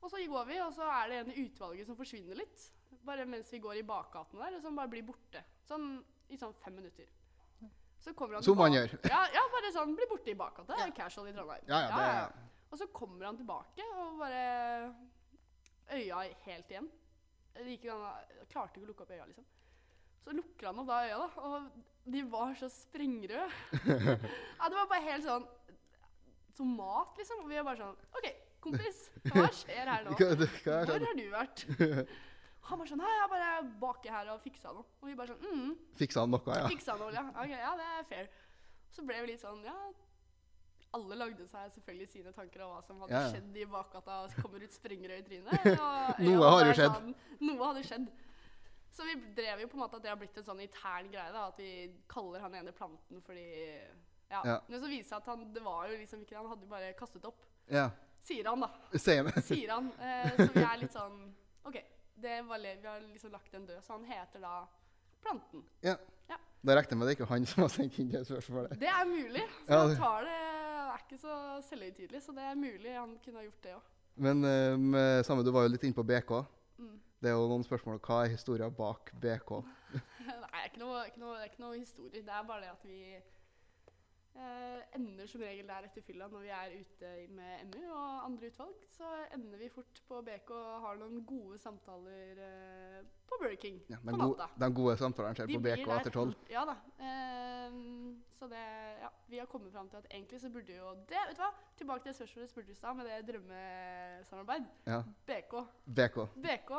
Speaker 1: Og så går vi, og så er det en i utvalget som forsvinner litt. Bare mens vi går i bakgatene der, og som bare blir borte. Sånn i sånn fem minutter. Så kommer han
Speaker 2: Som han
Speaker 1: tilbake-
Speaker 2: gjør.
Speaker 1: Ja, ja, bare sånn bli borte i bakgata.
Speaker 3: Ja.
Speaker 1: Casual i Trondheim.
Speaker 2: Ja, ja, det,
Speaker 1: Og så kommer han tilbake og bare Øya er helt igjen. Det gikk ikke an, jeg klarte ikke å lukke opp øya, liksom. Så lukker han opp da øya, da, og de var så sprengrøde. ja, det var bare helt sånn som mat, liksom. Og vi var bare sånn OK, kompis, hva skjer her nå?
Speaker 2: Hva, det, sånn. hva har
Speaker 1: Hvor
Speaker 2: skjedd?
Speaker 1: har du vært? Han bare sånn Nei, jeg bare baker her og fiksa noe. Og vi bare sånn mm,
Speaker 2: Fiksa han noe, ja?
Speaker 1: Fiksa noe, ja. Ok, ja, det er fair. Så ble vi litt sånn Ja. Alle lagde seg selvfølgelig sine tanker om hva som hadde
Speaker 2: Ja, ja.
Speaker 1: skjedd i bakgata. og så Kommer ut sprengrøy i trynet. og
Speaker 2: Noe
Speaker 1: øya
Speaker 2: har jo
Speaker 1: var
Speaker 2: skjedd.
Speaker 1: Sånn, noe hadde skjedd. Så vi drev jo på en måte at det har blitt en sånn intern greie, da, at vi kaller han ene planten fordi ja.
Speaker 2: Ja.
Speaker 1: Men så viser det seg at han, det var jo liksom ikke det, han hadde jo bare kastet opp.
Speaker 2: ja.
Speaker 1: Sier han, da
Speaker 2: Sier han
Speaker 1: sier han. Eh, så vi er litt sånn OK, det var le vi har liksom lagt den død. Så han heter da Planten.
Speaker 2: Da regner jeg med det ikke var han som har sendt inn det spørsmålet.
Speaker 1: Det er mulig. Så
Speaker 2: Ja,
Speaker 1: han
Speaker 2: det-
Speaker 1: tar det han er ikke så selvhøytidelig, så det er mulig han kunne ha gjort det òg.
Speaker 2: Men eh, med- Samme, du var jo litt inne på BK.
Speaker 1: Mm.
Speaker 2: Det er jo noen spørsmål hva er historien bak BK?
Speaker 1: Nei, det er ikke noe, ikke noe, det er ikke noe historie. Det er bare det at vi eh, ender som regel der etter fylla når vi er ute i- med MU og andre utvalg. Så ender vi fort på BK og har noen gode samtaler eh, på Burger King
Speaker 2: Ja, de,
Speaker 1: på
Speaker 2: gode,
Speaker 1: natta.
Speaker 2: de gode samtalene skjer
Speaker 1: De
Speaker 2: på
Speaker 1: blir
Speaker 2: BK
Speaker 1: der.
Speaker 2: etter tolv.
Speaker 1: Ja da. Ehm, så det Ja, vi har kommet fram til at egentlig så burde jo det Vet du hva? Tilbake til det spørsmålet du spurte i stad, med det drømmesamarbeid.
Speaker 2: Ja.
Speaker 1: BK.
Speaker 2: BK.
Speaker 1: BK.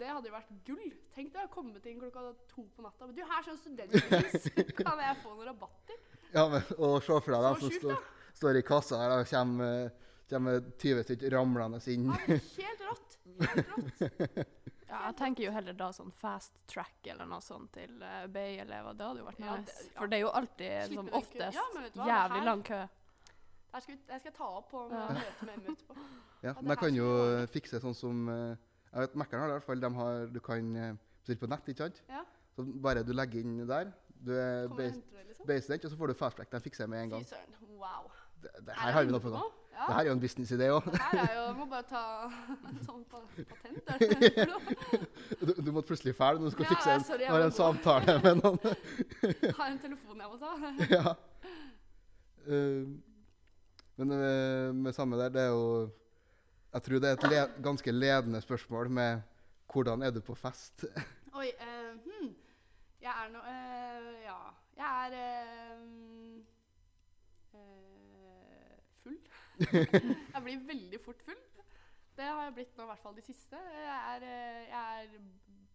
Speaker 1: Det hadde jo vært gull. Tenk deg å komme inn klokka to på natta. Men du, her sånn studentpris! kan jeg få noen rabatter?
Speaker 2: Ja, men, og se for deg
Speaker 1: Så
Speaker 2: dem som
Speaker 1: sjukt,
Speaker 2: står, står i kassa her, og kommer, eh, kommer 20 stykker ramlende inn.
Speaker 1: Ja, det er helt rått! Helt rått.
Speaker 3: Ja, jeg tenker jo heller da sånn fast track eller noe sånt til uh, BI-elever. Det hadde jo vært
Speaker 1: Ja,
Speaker 3: nice.
Speaker 1: det- ja.
Speaker 3: For det er jo alltid,
Speaker 1: Slipper
Speaker 3: som
Speaker 1: den kø-
Speaker 3: oftest,
Speaker 1: Ja, men vet du hva, det
Speaker 3: jævlig
Speaker 1: her-
Speaker 3: lang kø.
Speaker 1: Der skal, vi, jeg skal ta opp på
Speaker 3: Ja.
Speaker 1: møtet med MU etterpå.
Speaker 2: Ja,
Speaker 1: det
Speaker 2: men jeg
Speaker 1: her
Speaker 2: kan jo
Speaker 1: skal vi
Speaker 2: eh, fikse sånn som eh, jeg vet, Mekkeren har det i hvert fall. De har, du kan eh, bestille på nett, ikke sant?
Speaker 1: Ja.
Speaker 2: Så bare du legger inn der. Du er
Speaker 1: Kommer og
Speaker 2: base-
Speaker 1: henter det, liksom.
Speaker 2: basestudent, og så får du fast track. De fikser jeg med en
Speaker 1: Fy
Speaker 2: gang.
Speaker 1: søren. Wow.
Speaker 2: Det, det her har vi noe på nå.
Speaker 1: Ja.
Speaker 2: Det her er jo en businessidé òg.
Speaker 1: Det her er jo Må bare ta sånn pa- patent, er det det?
Speaker 2: Du, du måtte plutselig fæle når du skulle
Speaker 1: Ja,
Speaker 2: fikse
Speaker 1: ja,
Speaker 2: en,
Speaker 1: sorry, jeg
Speaker 2: når
Speaker 1: må gå.
Speaker 2: en samtale med noen.
Speaker 1: Har en telefon jeg må ta.
Speaker 2: ja. Eh, men eh, med samme der, det er jo Jeg tror det er et le ganske ledende spørsmål med hvordan er du på fest?
Speaker 1: Oi. eh, hm. Jeg er nå eh, Ja. Jeg er eh, eh, full. jeg blir veldig fort full. Det har jeg blitt nå, i hvert fall de siste. Jeg er, eh, jeg er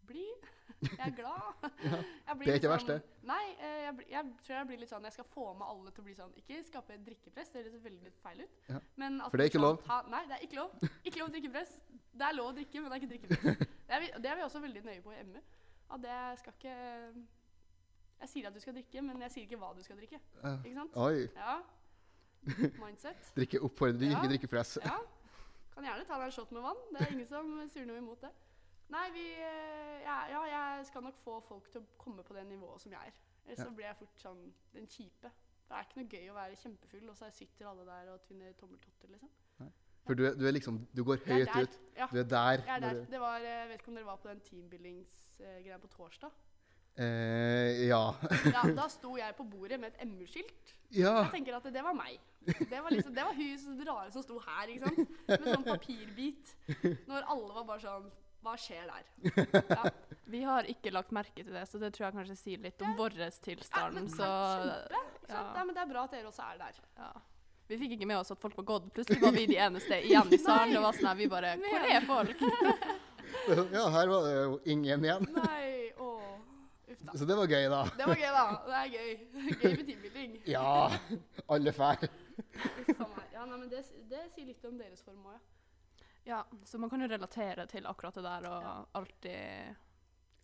Speaker 1: blid. Jeg er glad. Jeg blir
Speaker 2: det er
Speaker 1: litt
Speaker 2: ikke
Speaker 1: sånn,
Speaker 2: verst, det.
Speaker 1: Nei, eh, jeg, blir- jeg tror jeg blir litt sånn Jeg skal få med alle til å bli sånn Ikke skape drikkepress, det høres veldig feil ut.
Speaker 2: Ja.
Speaker 1: Men at
Speaker 2: For det er
Speaker 1: vi
Speaker 2: ikke
Speaker 1: skal
Speaker 2: lov.
Speaker 1: Ta, nei, det er ikke lov. Ikke lov drikkepress. Det er lov å drikke, men det er ikke drikkepress. Det er vi, det er vi også veldig nøye på i MU. At det skal ikke Jeg sier at du skal drikke, men jeg sier ikke hva du skal drikke.
Speaker 2: Eh,
Speaker 1: Ikke sant?
Speaker 2: oi.
Speaker 1: Ja. Mindset.
Speaker 2: Drikke oppfordring,
Speaker 1: Ja.
Speaker 2: ikke drikkepress.
Speaker 1: Ja. Kan gjerne ta deg en shot med vann. Det er ingen som sier noe imot det. Nei, vi eh, ja, ja, jeg skal nok få folk til å komme på det nivået som jeg er. Ellers
Speaker 2: Ja.
Speaker 1: så blir jeg fort sånn den kjipe. Det er ikke noe gøy å være kjempefull, og så sitter alle der og tvinner tommeltotter, liksom.
Speaker 2: For du, er- du er liksom Du går
Speaker 1: Jeg er
Speaker 2: høyt
Speaker 1: der.
Speaker 2: ut.
Speaker 1: Ja,
Speaker 2: Du er der.
Speaker 1: jeg er
Speaker 2: når
Speaker 1: der.
Speaker 2: du-
Speaker 1: Det var, eh, jeg vet ikke om dere var på den teambuildingsgreia på torsdag.
Speaker 2: Eh, ja.
Speaker 1: Ja, da sto jeg på bordet med et MU-skilt. Jeg
Speaker 2: ja.
Speaker 1: tenker at det var meg. Det var, liksom, det var hun som- rare som sto her, ikke sant? Med sånn papirbit. Når alle var bare sånn Hva skjer der? Ja.
Speaker 3: Vi har ikke lagt merke til det, så det tror jeg kanskje sier litt om vår
Speaker 1: Ja,
Speaker 3: tilstand.
Speaker 1: men
Speaker 3: Så
Speaker 1: kjempe, ikke sant?
Speaker 3: ja.
Speaker 1: Nei, men det er bra at dere også er der.
Speaker 3: ja. Vi fikk ikke med oss at folk var gått. Plutselig var vi de eneste igjen i salen. Det var sånn her, vi bare
Speaker 1: Men-
Speaker 3: Hvor er folk?
Speaker 2: ja, her var det jo ingen igjen.
Speaker 1: Nei, åh. Uff da.
Speaker 2: Så det var gøy, da.
Speaker 1: Det var gøy, da. Det er gøy. Gøy med teambuilding.
Speaker 2: Ja. Alle drar.
Speaker 1: Uff a meg. Ja, nei, men det, det sier litt om deres form òg, ja.
Speaker 3: Ja, så man kan jo relatere til akkurat det der og alltid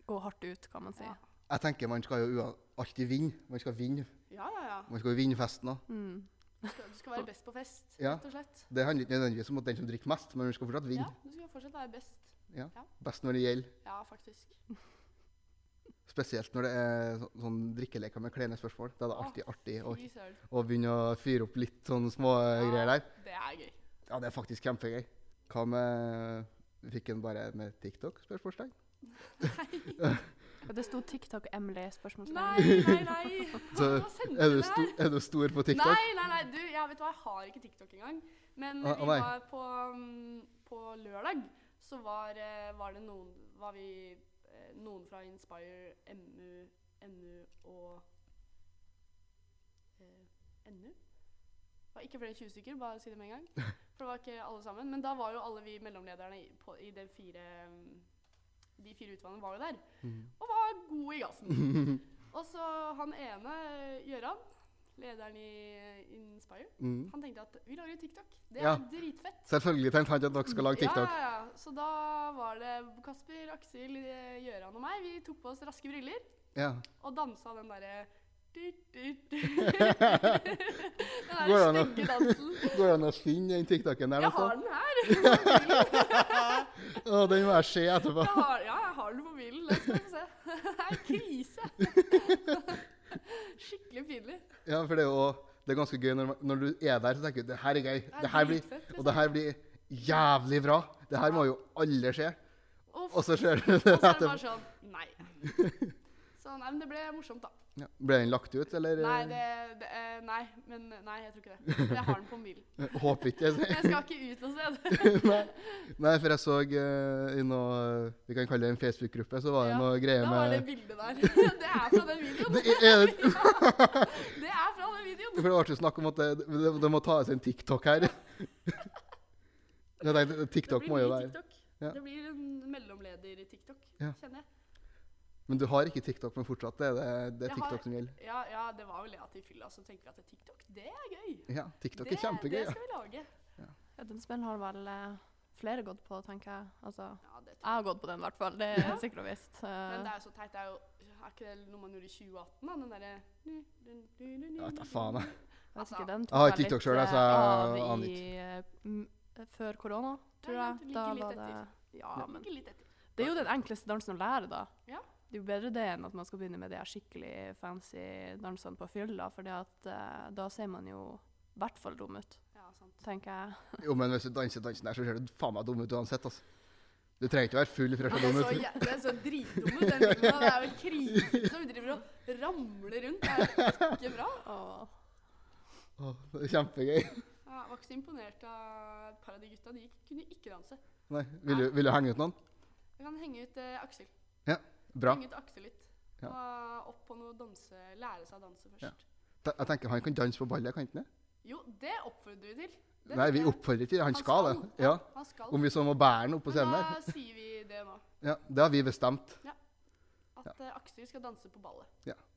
Speaker 3: gå hardt ut, kan man si.
Speaker 1: Ja.
Speaker 2: Jeg tenker man skal jo ua- alltid vinne. Man skal vinne
Speaker 1: Ja, ja, ja.
Speaker 2: Man skal jo vinne festen òg.
Speaker 3: Mm.
Speaker 1: Du skal, du skal være best på fest,
Speaker 2: Ja.
Speaker 1: rett og slett.
Speaker 2: Det handler ikke nødvendigvis om at den som drikker mest, men man skal fortsatt vinne.
Speaker 1: Ja, du skal fortsatt være best.
Speaker 2: Best når det gjelder.
Speaker 1: Ja, faktisk.
Speaker 2: Spesielt når det er så- sånn drikkeleker med kleine spørsmål. Da er det
Speaker 1: Å,
Speaker 2: alltid artig å,
Speaker 1: Fy søren.
Speaker 2: å begynne å fyre opp litt sånne små eh, greier der.
Speaker 1: Det er gøy.
Speaker 2: Ja, det er faktisk kjempegøy. Hva med Fikk han bare med TikTok? spørsmålstegn?
Speaker 3: Ja, Det sto TikTok Emily spørsmålstegn.
Speaker 1: Nei, nei, nei.
Speaker 2: Så
Speaker 1: Hva sendte
Speaker 2: er du,
Speaker 1: det her?
Speaker 2: sto, er du stor på TikTok?
Speaker 1: Nei, nei, nei, du, jeg vet hva, jeg har ikke TikTok engang. Men
Speaker 2: Ah,
Speaker 1: vi
Speaker 2: nei.
Speaker 1: var på, mm, på lørdag, så var, eh, var det noen Var vi eh, noen fra Inspire, MU, NU og eh, NU? Det var ikke flere enn 20 stykker, bare si det med en gang. For det var ikke alle sammen. Men da var jo alle vi mellomlederne i, på, i de fire mm, De fire utvalgene var jo der.
Speaker 2: Mhm.
Speaker 1: Og var gode i gassen. Og så han ene, Gjøran, lederen i Inspire,
Speaker 2: Mm.
Speaker 1: han tenkte at vi lager jo TikTok. Det er
Speaker 2: Ja.
Speaker 1: dritfett.
Speaker 2: Selvfølgelig tenkte han ikke at dere skal lage TikTok.
Speaker 1: Ja, ja, ja. Så da var det Kasper, Aksel, eh, Gjøran og meg. Vi tok på oss raske briller
Speaker 2: Ja.
Speaker 1: og dansa den derre dyrt, dyrt, dyrt. Den
Speaker 2: Går
Speaker 1: der
Speaker 2: det an å-
Speaker 1: stygge dansen.
Speaker 2: Går det an å finne den TikToken der? altså?
Speaker 1: Jeg har den her.
Speaker 2: Å, den må jeg se etterpå.
Speaker 1: Jeg har, ja, jeg har den på mobilen. Den skal du få se. Det er krise. Skikkelig pinlig.
Speaker 2: Ja, for det er jo det er ganske gøy når, man- når du er der, så tenker du det her er gøy.
Speaker 1: er
Speaker 2: Det her blir,
Speaker 1: dritfett,
Speaker 2: og det her blir jævlig bra. Det her må jo alle se.
Speaker 1: Uff.
Speaker 2: Og så ser du
Speaker 1: Og så
Speaker 2: det
Speaker 1: er det
Speaker 2: etterpå.
Speaker 1: bare sånn Nei. Så nei, men det ble morsomt, da.
Speaker 2: Ja. Ble den lagt ut, eller?
Speaker 1: Nei, det, det eh, Nei, men nei, jeg tror ikke det. For Jeg har den på mobilen.
Speaker 2: Eh, Håper ikke. jeg
Speaker 1: Men
Speaker 2: sier.
Speaker 1: Jeg skal ikke ut noe sted.
Speaker 2: Nei. Nei, for jeg så eh, i noe Vi kan kalle det en Facebook-gruppe, så var det
Speaker 1: Ja,
Speaker 2: noe greier
Speaker 1: Da var det
Speaker 2: med
Speaker 1: bildet der. Det er fra den videoen.
Speaker 2: det er, er-
Speaker 1: Det er fra den videoen.
Speaker 2: For det var ikke snakk om at det, det, det må tas en TikTok her. Jeg tenkte,
Speaker 1: Det
Speaker 2: TikTok må
Speaker 1: blir
Speaker 2: jo
Speaker 1: ny
Speaker 2: være
Speaker 1: TikTok.
Speaker 2: Ja.
Speaker 1: Det blir en mellomleder-TikTok,
Speaker 2: Ja.
Speaker 1: kjenner jeg.
Speaker 2: Men du har ikke TikTok, men fortsatt det er det, det er
Speaker 1: Jeg har-
Speaker 2: TikTok som gjelder.
Speaker 1: Ja, ja, det var vel det at i fylla så tenker vi at TikTok, det er gøy.
Speaker 2: Ja, TikTok er kjempegøy.
Speaker 1: Det
Speaker 2: Ja.
Speaker 1: skal vi lage.
Speaker 3: Ja, den smellen har vel eh, flere gått på, tenker jeg. Altså,
Speaker 1: Ja, det
Speaker 3: jeg
Speaker 1: tror jeg.
Speaker 3: har gått på den i hvert fall, det er sikkert og visst.
Speaker 1: Men det
Speaker 3: Eh,
Speaker 1: er jo så teit. Det er jo Er ikke det noe man gjorde i 2018, da? Den derre
Speaker 2: Jeg vet da faen, jeg.
Speaker 3: Jeg vet ikke, den
Speaker 2: Jeg har
Speaker 3: tok
Speaker 2: ikke
Speaker 3: vel
Speaker 2: TikTok
Speaker 3: litt,
Speaker 2: selv, altså,
Speaker 3: eh,
Speaker 2: jeg, så jeg
Speaker 3: av
Speaker 2: aner
Speaker 3: i, eh, m- Før korona, tror
Speaker 1: Ja,
Speaker 3: jeg.
Speaker 1: det
Speaker 3: Da
Speaker 1: ligger litt
Speaker 3: var det
Speaker 1: etter.
Speaker 3: Ja, men
Speaker 1: Ikke litt etter.
Speaker 3: det er jo den enkleste dansen å lære, da.
Speaker 1: Ja.
Speaker 3: Det er jo bedre det enn at man skal begynne med de her skikkelig fancy dansene på fylla, for da ser man jo i hvert fall dum ut,
Speaker 1: Ja, sant.
Speaker 3: tenker jeg.
Speaker 2: Jo, men hvis du danser dansen der, så ser du faen meg dum ut uansett, altså. Du trenger ikke være full for å
Speaker 1: Ja,
Speaker 2: se
Speaker 1: det,
Speaker 2: dum
Speaker 1: er så,
Speaker 2: ut.
Speaker 1: jæ- det er så dritdum ut, den filmen. da. Det er jo en krise som vi driver og ramler rundt. Det er ikke bra.
Speaker 3: Åh.
Speaker 2: Åh, det er kjempegøy.
Speaker 1: Jeg var ikke så imponert av et par av de gutta. De gikk- kunne ikke danse.
Speaker 2: Nei, vil du, vil du henge ut noen?
Speaker 1: Jeg kan henge ut eh, Aksel.
Speaker 2: Bra.
Speaker 1: Henge ut Aksel litt.
Speaker 2: Ja.
Speaker 1: Og opp på noe danse, lære seg å danse
Speaker 2: Ja.
Speaker 1: først.
Speaker 2: Ta- Jeg tenker han kan danse på ballet, kan han ikke?
Speaker 1: Jo, det oppfordrer vi til. Det
Speaker 2: Nei,
Speaker 1: tenker
Speaker 2: vi
Speaker 1: jeg.
Speaker 2: oppfordrer ikke. Han skal det. Ja.
Speaker 1: Han skal.
Speaker 2: Om vi så må bære han opp på
Speaker 1: Men
Speaker 2: scenen der.
Speaker 1: da sier vi det nå.
Speaker 2: Ja, det har vi bestemt.
Speaker 1: At eh, Aksel skal danse på ballet.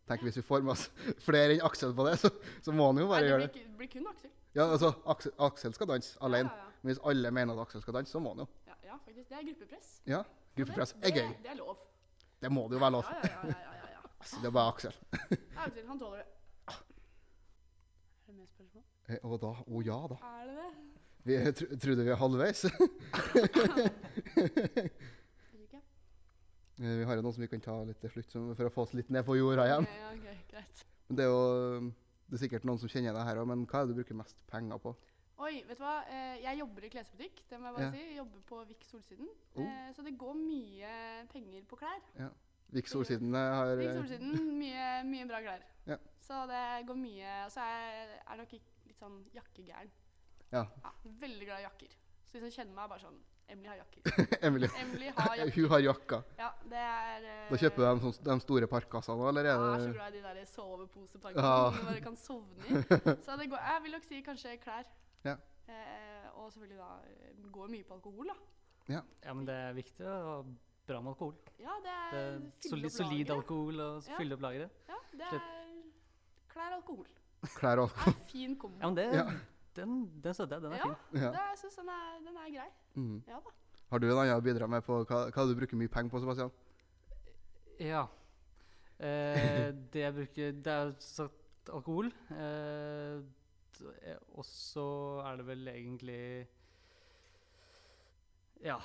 Speaker 2: Tenk hvis vi får med oss flere enn Aksel på det, så, så må han jo
Speaker 1: Nei,
Speaker 2: bare
Speaker 1: det
Speaker 2: gjøre
Speaker 1: blir,
Speaker 2: det.
Speaker 1: ikke- blir kun Aksel.
Speaker 2: Ja, altså, Aksel, Aksel skal danse alene.
Speaker 1: Ja, ja,
Speaker 2: Men hvis alle mener at Aksel skal danse, så må han jo.
Speaker 1: ja. ja, ja, faktisk. Det er gruppepress.
Speaker 2: Ja,
Speaker 1: Og det-
Speaker 2: Gruppepress er gøy.
Speaker 1: Det, det er lov.
Speaker 2: Det må det jo være lov.
Speaker 1: Ja, ja, ja, ja, ja, ja.
Speaker 2: Altså, Det er bare Aksel.
Speaker 1: Ja, Aksel, han tåler det. Er det mer spørsmål?
Speaker 2: Eh, Og da, å ja da.
Speaker 1: Er det det?
Speaker 2: Vi tro, trodde vi var halvveis. Eh,
Speaker 1: Jeg vet ikke.
Speaker 2: Eh, Vi har jo noen som vi kan ta litt til slutt, som- for å få oss litt ned på jorda igjen.
Speaker 1: Ok, Ja, ok, greit.
Speaker 2: Men det er jo det er sikkert noen som kjenner deg her òg, men hva er det du bruker mest penger på?
Speaker 1: Oi, vet du hva? Eh, Jeg jobber i klesbutikk, det må jeg bare
Speaker 2: Ja.
Speaker 1: si. Jeg jobber på Vik Solsiden.
Speaker 2: Oh.
Speaker 1: Eh, Så det går mye penger på klær.
Speaker 2: Vik Solsiden eh, har
Speaker 1: Mm. Vik
Speaker 2: eh,
Speaker 1: Solsiden, mye, mye bra klær.
Speaker 2: Ja.
Speaker 1: Så det går mye. Og så er jeg nok ikke- litt sånn jakkegæren.
Speaker 2: Ja.
Speaker 1: Veldig glad i jakker. Så de som kjenner meg, er bare sånn Emily har jakker.
Speaker 2: eh, Emilie.
Speaker 1: Emily har jakker.
Speaker 2: Hun har jakka.
Speaker 1: Ja, det er eh,
Speaker 2: Da kjøper du de, sånn- de store parkassene òg, eller
Speaker 1: Jeg er
Speaker 2: er
Speaker 1: Ah, så
Speaker 2: det
Speaker 1: glad i de der soveposepakkene
Speaker 2: Ja.
Speaker 1: som du bare kan sovne i. Så det går, jeg vil nok si kanskje klær.
Speaker 2: Ja.
Speaker 1: Eh, og selvfølgelig da eh, går mye på alkohol, da.
Speaker 4: Ja, men det er viktig å ha bra med alkohol.
Speaker 1: Ja, det
Speaker 4: Det
Speaker 1: er
Speaker 4: er
Speaker 1: fylle
Speaker 4: solid,
Speaker 1: opp
Speaker 4: solid
Speaker 1: lageret.
Speaker 4: alkohol og s-
Speaker 1: Ja.
Speaker 4: fylle opp lageret.
Speaker 1: Ja, det
Speaker 4: Slutt.
Speaker 1: er klær og alkohol.
Speaker 2: klær og
Speaker 1: Det er en fin kombo.
Speaker 4: Ja, men det,
Speaker 2: Ja.
Speaker 4: den, den støtter jeg. Den er
Speaker 1: Ja.
Speaker 4: fin.
Speaker 2: Ja.
Speaker 1: Det, jeg syns den, er- den er grei.
Speaker 2: Mm.
Speaker 1: Ja da.
Speaker 2: Har du en annen å bidra med på hva, hva du bruker mye penger på, Sebastian?
Speaker 4: Ja. Eh, det jeg bruker Det er jo sagt alkohol. Eh, d- eh, og så er det vel egentlig Ja.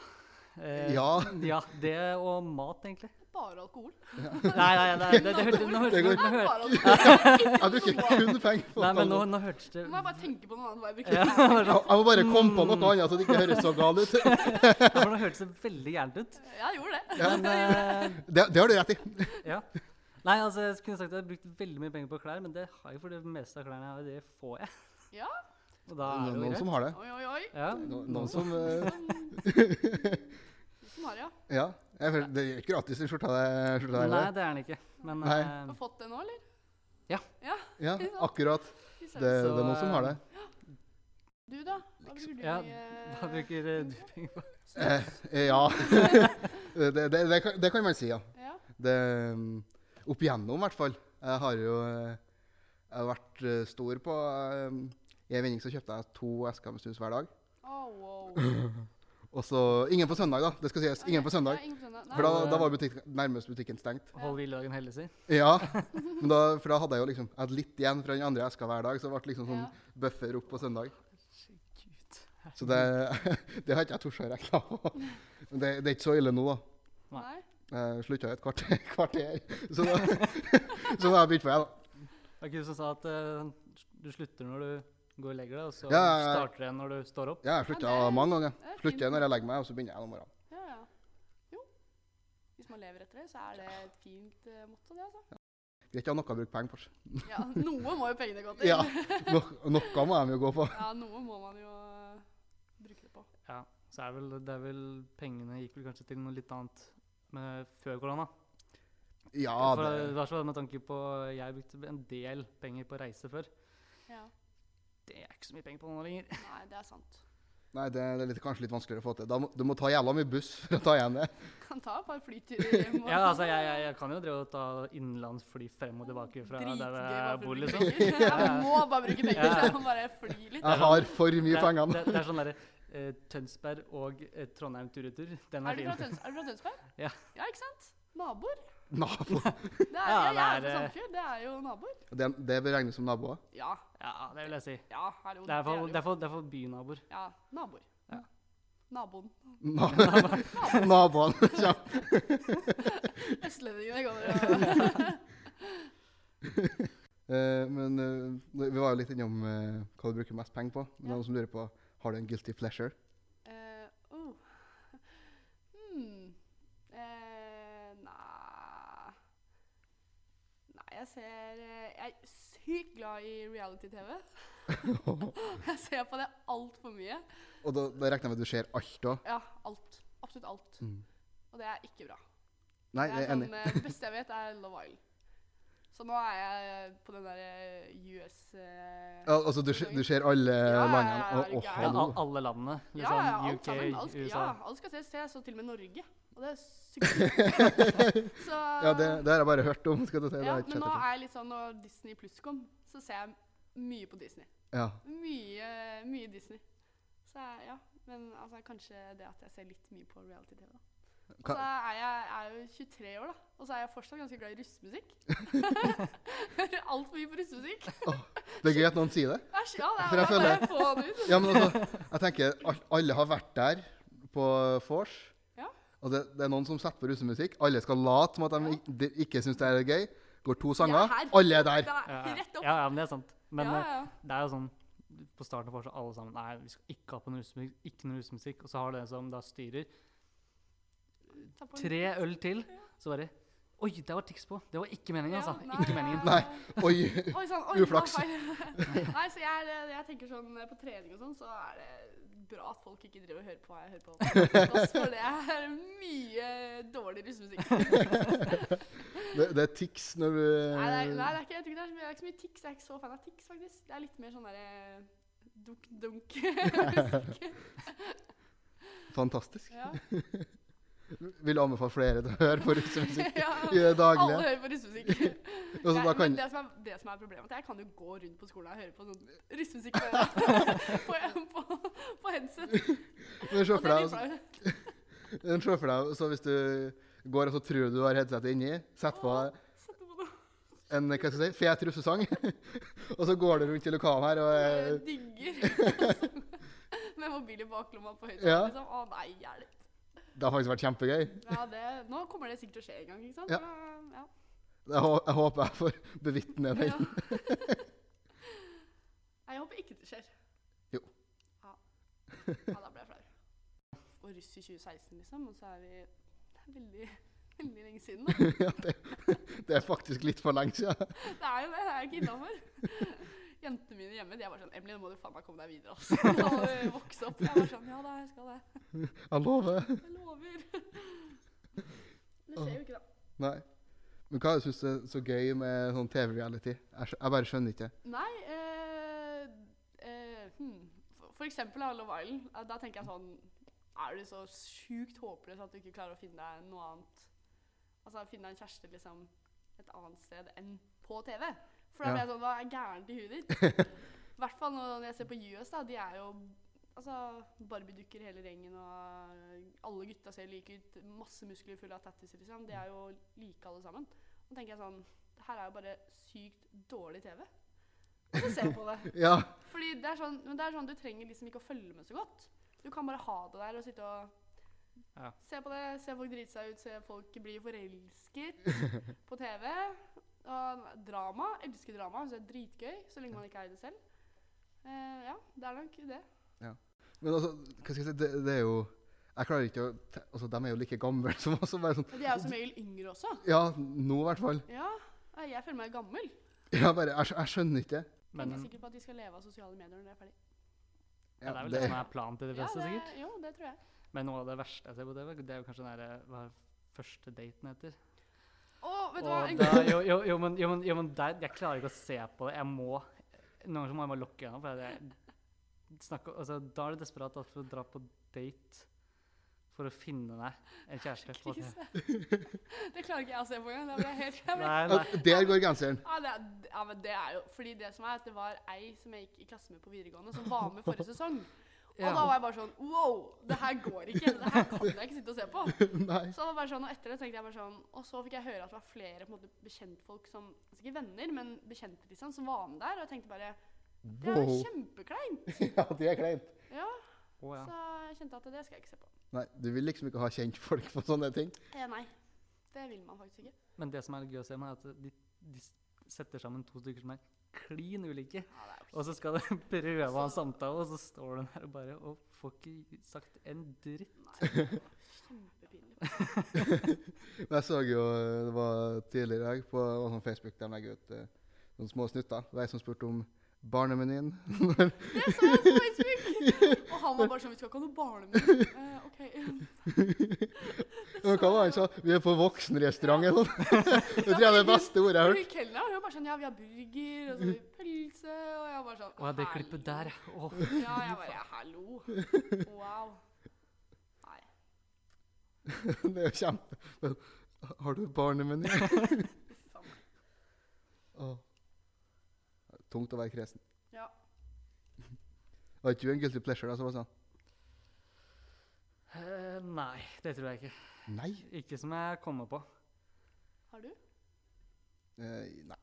Speaker 4: Eh,
Speaker 2: Ja.
Speaker 4: ja. Det Eh, og mat, egentlig.
Speaker 1: bare alkohol.
Speaker 4: Nei, nei, nei, det, det, hørte- nå hørte-
Speaker 2: Det går.
Speaker 4: nå hørte-
Speaker 1: Bare alkohol.
Speaker 2: Jeg bruker kun penger på
Speaker 4: Nei, men nå,
Speaker 2: alkohol.
Speaker 4: nå hørtes det
Speaker 1: Nå må jeg bare tenke på noe annet. hva jeg bruker.
Speaker 4: ja, bare
Speaker 2: Jeg
Speaker 4: sånn-
Speaker 2: jeg må bare komme på noe annet, så det ikke høres så gal ut.
Speaker 4: ja, for Nå hørtes det veldig gærent ut.
Speaker 1: Jeg gjorde det.
Speaker 4: Men eh,
Speaker 2: Det, det har du rett i.
Speaker 4: ja. Nei, altså, jeg kunne sagt at jeg har brukt veldig mye penger på klær, men det har jeg for det meste av klærne jeg har, det får jeg.
Speaker 1: Ja.
Speaker 4: Og da er det jo
Speaker 2: Noen
Speaker 4: greit.
Speaker 2: som har det.
Speaker 1: Oi, oi, oi.
Speaker 4: Ja,
Speaker 2: No- Noen som eh,
Speaker 1: Som har, ja.
Speaker 2: Ja. Jeg føler, det er ikke gratis, den skjorta der. skjorta der,
Speaker 4: Nei, det er den ikke. Men
Speaker 2: Nei.
Speaker 4: eh,
Speaker 1: Har du fått det nå, eller?
Speaker 4: Ja.
Speaker 1: ja
Speaker 2: Ja, akkurat.
Speaker 1: vi ses.
Speaker 2: Det, det er noen som har det.
Speaker 1: Du, da? Hva bruker du
Speaker 4: Ja,
Speaker 1: mye
Speaker 4: hva bruker eh, du penger på?
Speaker 2: Eh, ja. det, det, det, kan, det kan man si, ja.
Speaker 1: Ja.
Speaker 2: Det, um, opp igjennom, i hvert fall. Jeg har jo eh, jeg har vært eh, stor på eh, I en vending så kjøpte jeg to esker med snus hver dag.
Speaker 1: Å, wow.
Speaker 2: Og så Ingen på søndag, da. Det skal sies. Ingen på søndag.
Speaker 1: Ja, ingen på søndag. Nei.
Speaker 2: For da, da var butikk, nærmest butikken stengt.
Speaker 4: Hold hviledagen hellig, si.
Speaker 2: Ja, men da, for da hadde jeg jo liksom jeg hadde litt igjen fra den andre eska hver dag. Så det ble liksom sånn
Speaker 1: Ja.
Speaker 2: buffer opp på søndag.
Speaker 4: Herregud.
Speaker 2: Så det, det har ikke jeg tort å regne på. Men det, det er ikke så ille nå, da.
Speaker 1: eh, Nei.
Speaker 2: Jeg slutta i et kvarter, kvarter. Så da så da har jeg begynt på igjen. da.
Speaker 4: Var ikke du som sa at eh, du slutter når du går og legger deg, og så
Speaker 2: Ja, ja, ja.
Speaker 4: starter du igjen når du står opp?
Speaker 2: Ja, jeg slutta
Speaker 1: Ja, det-
Speaker 2: mange ganger.
Speaker 1: Det er fint.
Speaker 2: Slutter når jeg legger meg, og så begynner jeg om morgenen.
Speaker 1: Ja, ja. Jo. Hvis man lever etter det, så er det et fint uh, motto, det, altså.
Speaker 2: Greit å ha noe å bruke penger på.
Speaker 1: Ja, noe må jo pengene gå til.
Speaker 2: Ja, no, noe må de jo gå på.
Speaker 1: Ja, noe må man jo eh, bruke det på.
Speaker 4: Ja. Så er vel, det er vel Pengene gikk vel kanskje til noe litt annet med før korona.
Speaker 2: Ja,
Speaker 4: For
Speaker 2: det,
Speaker 4: det var så med tanke på Jeg brukte en del penger på reise før.
Speaker 1: Ja.
Speaker 4: Det er ikke så mye penger på nå lenger.
Speaker 1: Nei, det er sant.
Speaker 2: nei, det er litt, kanskje litt vanskeligere å få til. Da må, du må ta jævla mye buss for å ta igjen det.
Speaker 1: Kan ta et par flyturer hjem. og-
Speaker 4: Ja, altså, jeg, jeg, jeg kan jo drive og ta innenlandsfly frem og tilbake fra der eh,
Speaker 1: Dritgøy
Speaker 4: jeg
Speaker 1: bare for å
Speaker 4: bor,
Speaker 1: bruke
Speaker 4: liksom.
Speaker 1: penger. Ja, man må bare bruke penger,
Speaker 4: Ja.
Speaker 1: så man bare fly litt.
Speaker 2: Jeg har for mye
Speaker 4: det, er-
Speaker 2: penger nå.
Speaker 4: det, det er sånn derre eh, Tønsberg og eh, Trondheim tur-retur. Den
Speaker 1: Er
Speaker 4: er
Speaker 1: du fra
Speaker 4: fin.
Speaker 1: Tøns- er du fra Tønsberg?
Speaker 4: Ja.
Speaker 1: ja, ikke sant? Naboer.
Speaker 2: Nabo.
Speaker 1: Det er,
Speaker 4: Ja,
Speaker 1: jeg, jeg er
Speaker 4: det
Speaker 1: fra
Speaker 4: er, eh,
Speaker 1: Sandefjord, det er jo naboer.
Speaker 2: Det, det regnes som naboer.
Speaker 1: Ja,
Speaker 4: Ja, det vil jeg si.
Speaker 1: ja, hallo.
Speaker 4: Det er for,
Speaker 1: jo-
Speaker 4: det er for, det er for bynaboer.
Speaker 1: Ja, naboer.
Speaker 4: Ja.
Speaker 1: Naboen.
Speaker 2: Na Naboene. Ja.
Speaker 1: Østlendingene kommer og
Speaker 2: Eh, men eh, vi var jo litt innom eh, hva du bruker mest penger på. Men det
Speaker 1: Ja.
Speaker 2: er noen som lurer på har du en guilty pleasure.
Speaker 1: Eh, oh. hmm. eh, nei Nei, jeg ser eh, Jeg er sykt glad i reality-TV. jeg ser på det altfor mye.
Speaker 2: Og da, da regner jeg med at du ser alt òg.
Speaker 1: Ja, alt. Absolutt alt.
Speaker 2: Mm.
Speaker 1: Og det er ikke bra.
Speaker 2: Nei,
Speaker 1: det,
Speaker 2: jeg
Speaker 1: er
Speaker 2: er
Speaker 1: sånn,
Speaker 2: enig.
Speaker 1: eh, det beste jeg vet, er Love Island. Så nå er jeg eh, på den der US eh,
Speaker 2: Ja, altså, du, ser- du ser alle
Speaker 1: ja,
Speaker 2: landene?
Speaker 1: ja, er
Speaker 2: Å,
Speaker 1: du
Speaker 2: å,
Speaker 4: Ja,
Speaker 1: gæren?
Speaker 2: hallo.
Speaker 4: al- alle landene.
Speaker 1: ja,
Speaker 4: Liksom,
Speaker 1: ja, alt
Speaker 4: UK,
Speaker 1: sammen. Alt, skal-
Speaker 4: USA.
Speaker 1: ja, alt skal ses, ses, og til og med Norge. Og det er sykt. så
Speaker 2: Ja, det, det har jeg bare hørt om. skal du si. Det
Speaker 1: ja,
Speaker 2: har jeg ikke
Speaker 1: Men nå
Speaker 2: sett.
Speaker 1: er jeg litt sånn når Disney pluss kom, så ser jeg mye på Disney.
Speaker 2: Ja.
Speaker 1: Mye, mye Disney. Så jeg, ja. Men altså, kanskje det at jeg ser litt mye på reality-TV, da. Og
Speaker 2: Ka-
Speaker 1: Så er jeg er jo 23 år, da. Og så er jeg fortsatt ganske glad i russemusikk. Hører altfor mye på russemusikk.
Speaker 2: Det er gøy at noen sier det.
Speaker 1: Æsj, ja. Det
Speaker 2: For jeg
Speaker 1: er bare
Speaker 2: føler-
Speaker 1: å få det ut.
Speaker 2: Ja, men altså, jeg tenker, al- Alle har vært der på vors.
Speaker 1: Ja.
Speaker 2: Og det, det er noen som setter på russemusikk. Alle skal late som at de ik- de ikke syns det er gøy. Går to sanger,
Speaker 1: her.
Speaker 2: alle er der.
Speaker 1: Det
Speaker 4: Ja,
Speaker 1: er rett opp.
Speaker 4: ja, ja, men det er sant. Men
Speaker 1: ja,
Speaker 4: eh,
Speaker 1: ja.
Speaker 4: det er jo sånn på starten av fortsatt alle sammen Nei, vi skal ikke ha på noe rusmusikk, ikke noe rusmusikk. Og så har du en som da styrer
Speaker 1: Ta på en-
Speaker 4: tre øl til, så bare Oi, der var Tix på! Det var ikke meningen,
Speaker 1: Ja,
Speaker 4: altså.
Speaker 1: nei,
Speaker 4: Ikke meningen.
Speaker 2: Nei. Oi.
Speaker 1: Oi, sånn, oi,
Speaker 2: Uflaks.
Speaker 1: det var feil. Nei, så jeg, er, jeg tenker sånn eh, på trening og sånn, så er det bra at folk ikke driver og hører på hva jeg hører på. Også for det er mye dårlig russemusikk.
Speaker 2: Det, det er tics når du
Speaker 1: Nei, det er, nei det, er ikke, jeg tror ikke det, er så mye, det er ikke så mye tics. Jeg er ikke så fan av tics, faktisk. Det er litt mer sånn derre dunk-dunk.
Speaker 2: Fantastisk.
Speaker 1: ja.
Speaker 2: Vil du anbefale flere til å høre på russemusikk
Speaker 1: ja.
Speaker 2: i det
Speaker 1: Alle
Speaker 2: daglige?
Speaker 1: hører på russemusikk.
Speaker 2: Og så da
Speaker 1: Jeg-
Speaker 2: kan,
Speaker 1: men det, som er, det som er problemet, er at jeg kan jo gå rundt på skolen og høre på sånn russemusikk på, på, på, på headset. Og det
Speaker 2: men se for sånn- deg
Speaker 1: blir flaut.
Speaker 2: Men Eh, Se for deg, så hvis du går og så tror du har headsetet inni, sett på
Speaker 1: Åh.
Speaker 2: deg
Speaker 1: Sette på noe.
Speaker 2: en hva skal jeg si, fet russesang, og så går du rundt i lokalet her og
Speaker 1: Jeg
Speaker 2: eh,
Speaker 1: digger. Med mobil i baklomma på høyttaler.
Speaker 2: Ja.
Speaker 1: Liksom. Å nei, hjelp.
Speaker 2: Det har faktisk vært kjempegøy.
Speaker 1: Ja, det, nå kommer det sikkert til å skje en gang. ikke sant?
Speaker 2: Ja.
Speaker 1: Men, ja.
Speaker 2: Jeg, hå- jeg håper jeg får bevitne den.
Speaker 1: Ja. Nei, jeg håper ikke det skjer.
Speaker 2: Jo.
Speaker 1: Ja, ja da ble jeg flau. Og russ i 2016, liksom. Og så er vi Det er veldig, veldig lenge siden. Da.
Speaker 2: Ja, det, det er faktisk litt for lenge siden.
Speaker 1: Det er jo det. Det er ikke innafor. Jentene mine hjemme de er bare sånn 'Emily, nå må du faen meg komme deg videre.' Altså. Nå må du vokse opp. Jeg var sånn 'Ja da, jeg skal det.
Speaker 2: Jeg lover.
Speaker 1: Jeg lover'. Det skjer jo ikke, da.
Speaker 2: Nei. Men hva syns du er så gøy med sånn TV-reality? Jeg, skj- jeg bare skjønner ikke.
Speaker 1: Nei eh, eh, hmm. For- For eksempel da, Love Island. eh, Da tenker jeg sånn Er du så sjukt håpløs at du ikke klarer å finne deg noe annet Altså finne deg en kjæreste liksom et annet sted enn på TV? For da blir
Speaker 2: Ja.
Speaker 1: jeg sånn Hva er gærent i huet ditt? I hvert fall når når jeg ser på US, da. De er jo altså, Barbie-dukker hele gjengen, og alle gutta ser like ut. Masse muskler fulle av tattiser, liksom. De er jo like alle sammen. Da tenker jeg sånn Det her er jo bare sykt dårlig TV. Og så ser jeg på det.
Speaker 2: Ja,
Speaker 1: Fordi det er sånn, men det er sånn du trenger liksom ikke å følge med så godt. Du kan bare ha det der og sitte og
Speaker 4: Ja.
Speaker 1: se på det, se folk drite seg ut, se folk bli forelsket på TV. Og drama. Elsker drama. Så det er dritgøy, så lenge man ikke er i det selv. Eh, ja, det er nok det.
Speaker 2: men altså, hva skal jeg si, det, det er jo Jeg klarer ikke å te- Altså, de er jo like gamle som oss. og Bare sånn
Speaker 1: Men de er jo som regel yngre også.
Speaker 2: Ja, nå i hvert fall.
Speaker 1: Ja, Nei, jeg føler meg gammel.
Speaker 2: Ja, bare, jeg, skj- jeg skjønner ikke.
Speaker 1: Men, jeg
Speaker 4: Men
Speaker 1: er sikker på at de skal leve av sosiale medier når de er ferdig.
Speaker 4: ja, det er vel
Speaker 2: det-
Speaker 4: det som er planen til de fleste,
Speaker 1: det,
Speaker 4: sikkert.
Speaker 1: jo, det tror jeg.
Speaker 4: Men noe av det verste jeg ser på TV, det er jo kanskje den derre Hva er første daten heter?
Speaker 1: Å, vet du hva?
Speaker 4: Og
Speaker 1: En
Speaker 4: da,
Speaker 1: gang,
Speaker 4: jo, jo, jo, men, jo, men, jo, men der, jeg klarer ikke å se på det. Jeg må Noen ganger så må jeg bare lukke øynene. For jeg, snakker, altså, da er det desperat at for å dra på date for å finne deg en kjæreste. På TV.
Speaker 1: krise. Det klarer ikke jeg å se på engang. Da blir jeg helt jeg blir
Speaker 4: Nei,
Speaker 2: Ja,
Speaker 4: nei.
Speaker 2: Der går genseren.
Speaker 1: Ja, det er, ja, men det er jo Fordi det som er at det var ei som jeg gikk i klasse med på videregående, som var med forrige sesong. Og da var jeg bare sånn Wow, det her går ikke. Det her kan jeg ikke sitte og se på.
Speaker 2: Nei.
Speaker 1: Så det var bare sånn, Og etter det tenkte jeg bare sånn Og så fikk jeg høre at det var flere på en måte, bekjentfolk som altså Ikke venner, men bekjente liksom, som var med der. Og jeg tenkte bare Det er
Speaker 2: Wow.
Speaker 1: jo kjempekleint.
Speaker 2: Ja, det er kleint.
Speaker 1: Ja,
Speaker 4: Å, ja.
Speaker 1: så jeg kjente at det skal jeg ikke se på.
Speaker 2: Nei, du vil liksom ikke ha kjentfolk på sånne ting.
Speaker 1: Eh, nei. Det vil man faktisk ikke.
Speaker 4: Men det som er gøy å se, med er at de, de s- setter sammen to stykker som er klin ulike.
Speaker 1: Ja, det er jo
Speaker 4: Og så skal de prøve å ha en samtale, og så står den her og bare og får ikke sagt en dritt.
Speaker 1: Nei, det var kjempepinlig.
Speaker 2: Men jeg så jo eh, det var tidligere i dag på det var sånn Facebook der de legger ut eh, sånne små snutter. Det var ei som spurte om barnemenyen.
Speaker 1: Det så jeg på Facebook! Og han var bare sånn Vi skal ikke ha noe barnemiddag. Eh, ok.
Speaker 2: Men hva var det han sa? Vi er på voksenrestaurant eller noe. Det tror jeg er det beste ordet jeg har hørt.
Speaker 1: Fordi Kelner hun var bare sånn Ja, vi har burger, og så har vi pølse Og jeg bare sånn
Speaker 4: Å, ja, det
Speaker 1: «Hallo».
Speaker 4: klippet der, ja. Å,
Speaker 1: Ja, jeg bare ja, Hallo. Wow. Nei.
Speaker 2: Det er jo kjempe... Men, Har du barnemeny?
Speaker 1: Uff a meg.
Speaker 2: Åh. Det er Tungt å være kresen.
Speaker 1: Ja.
Speaker 2: Har ikke du en guilty pleasure da, som var sånn?
Speaker 4: eh, nei, det tror jeg ikke.
Speaker 2: Nei.
Speaker 4: Ikke som jeg kommer på.
Speaker 1: Har du?
Speaker 2: Eh, nei,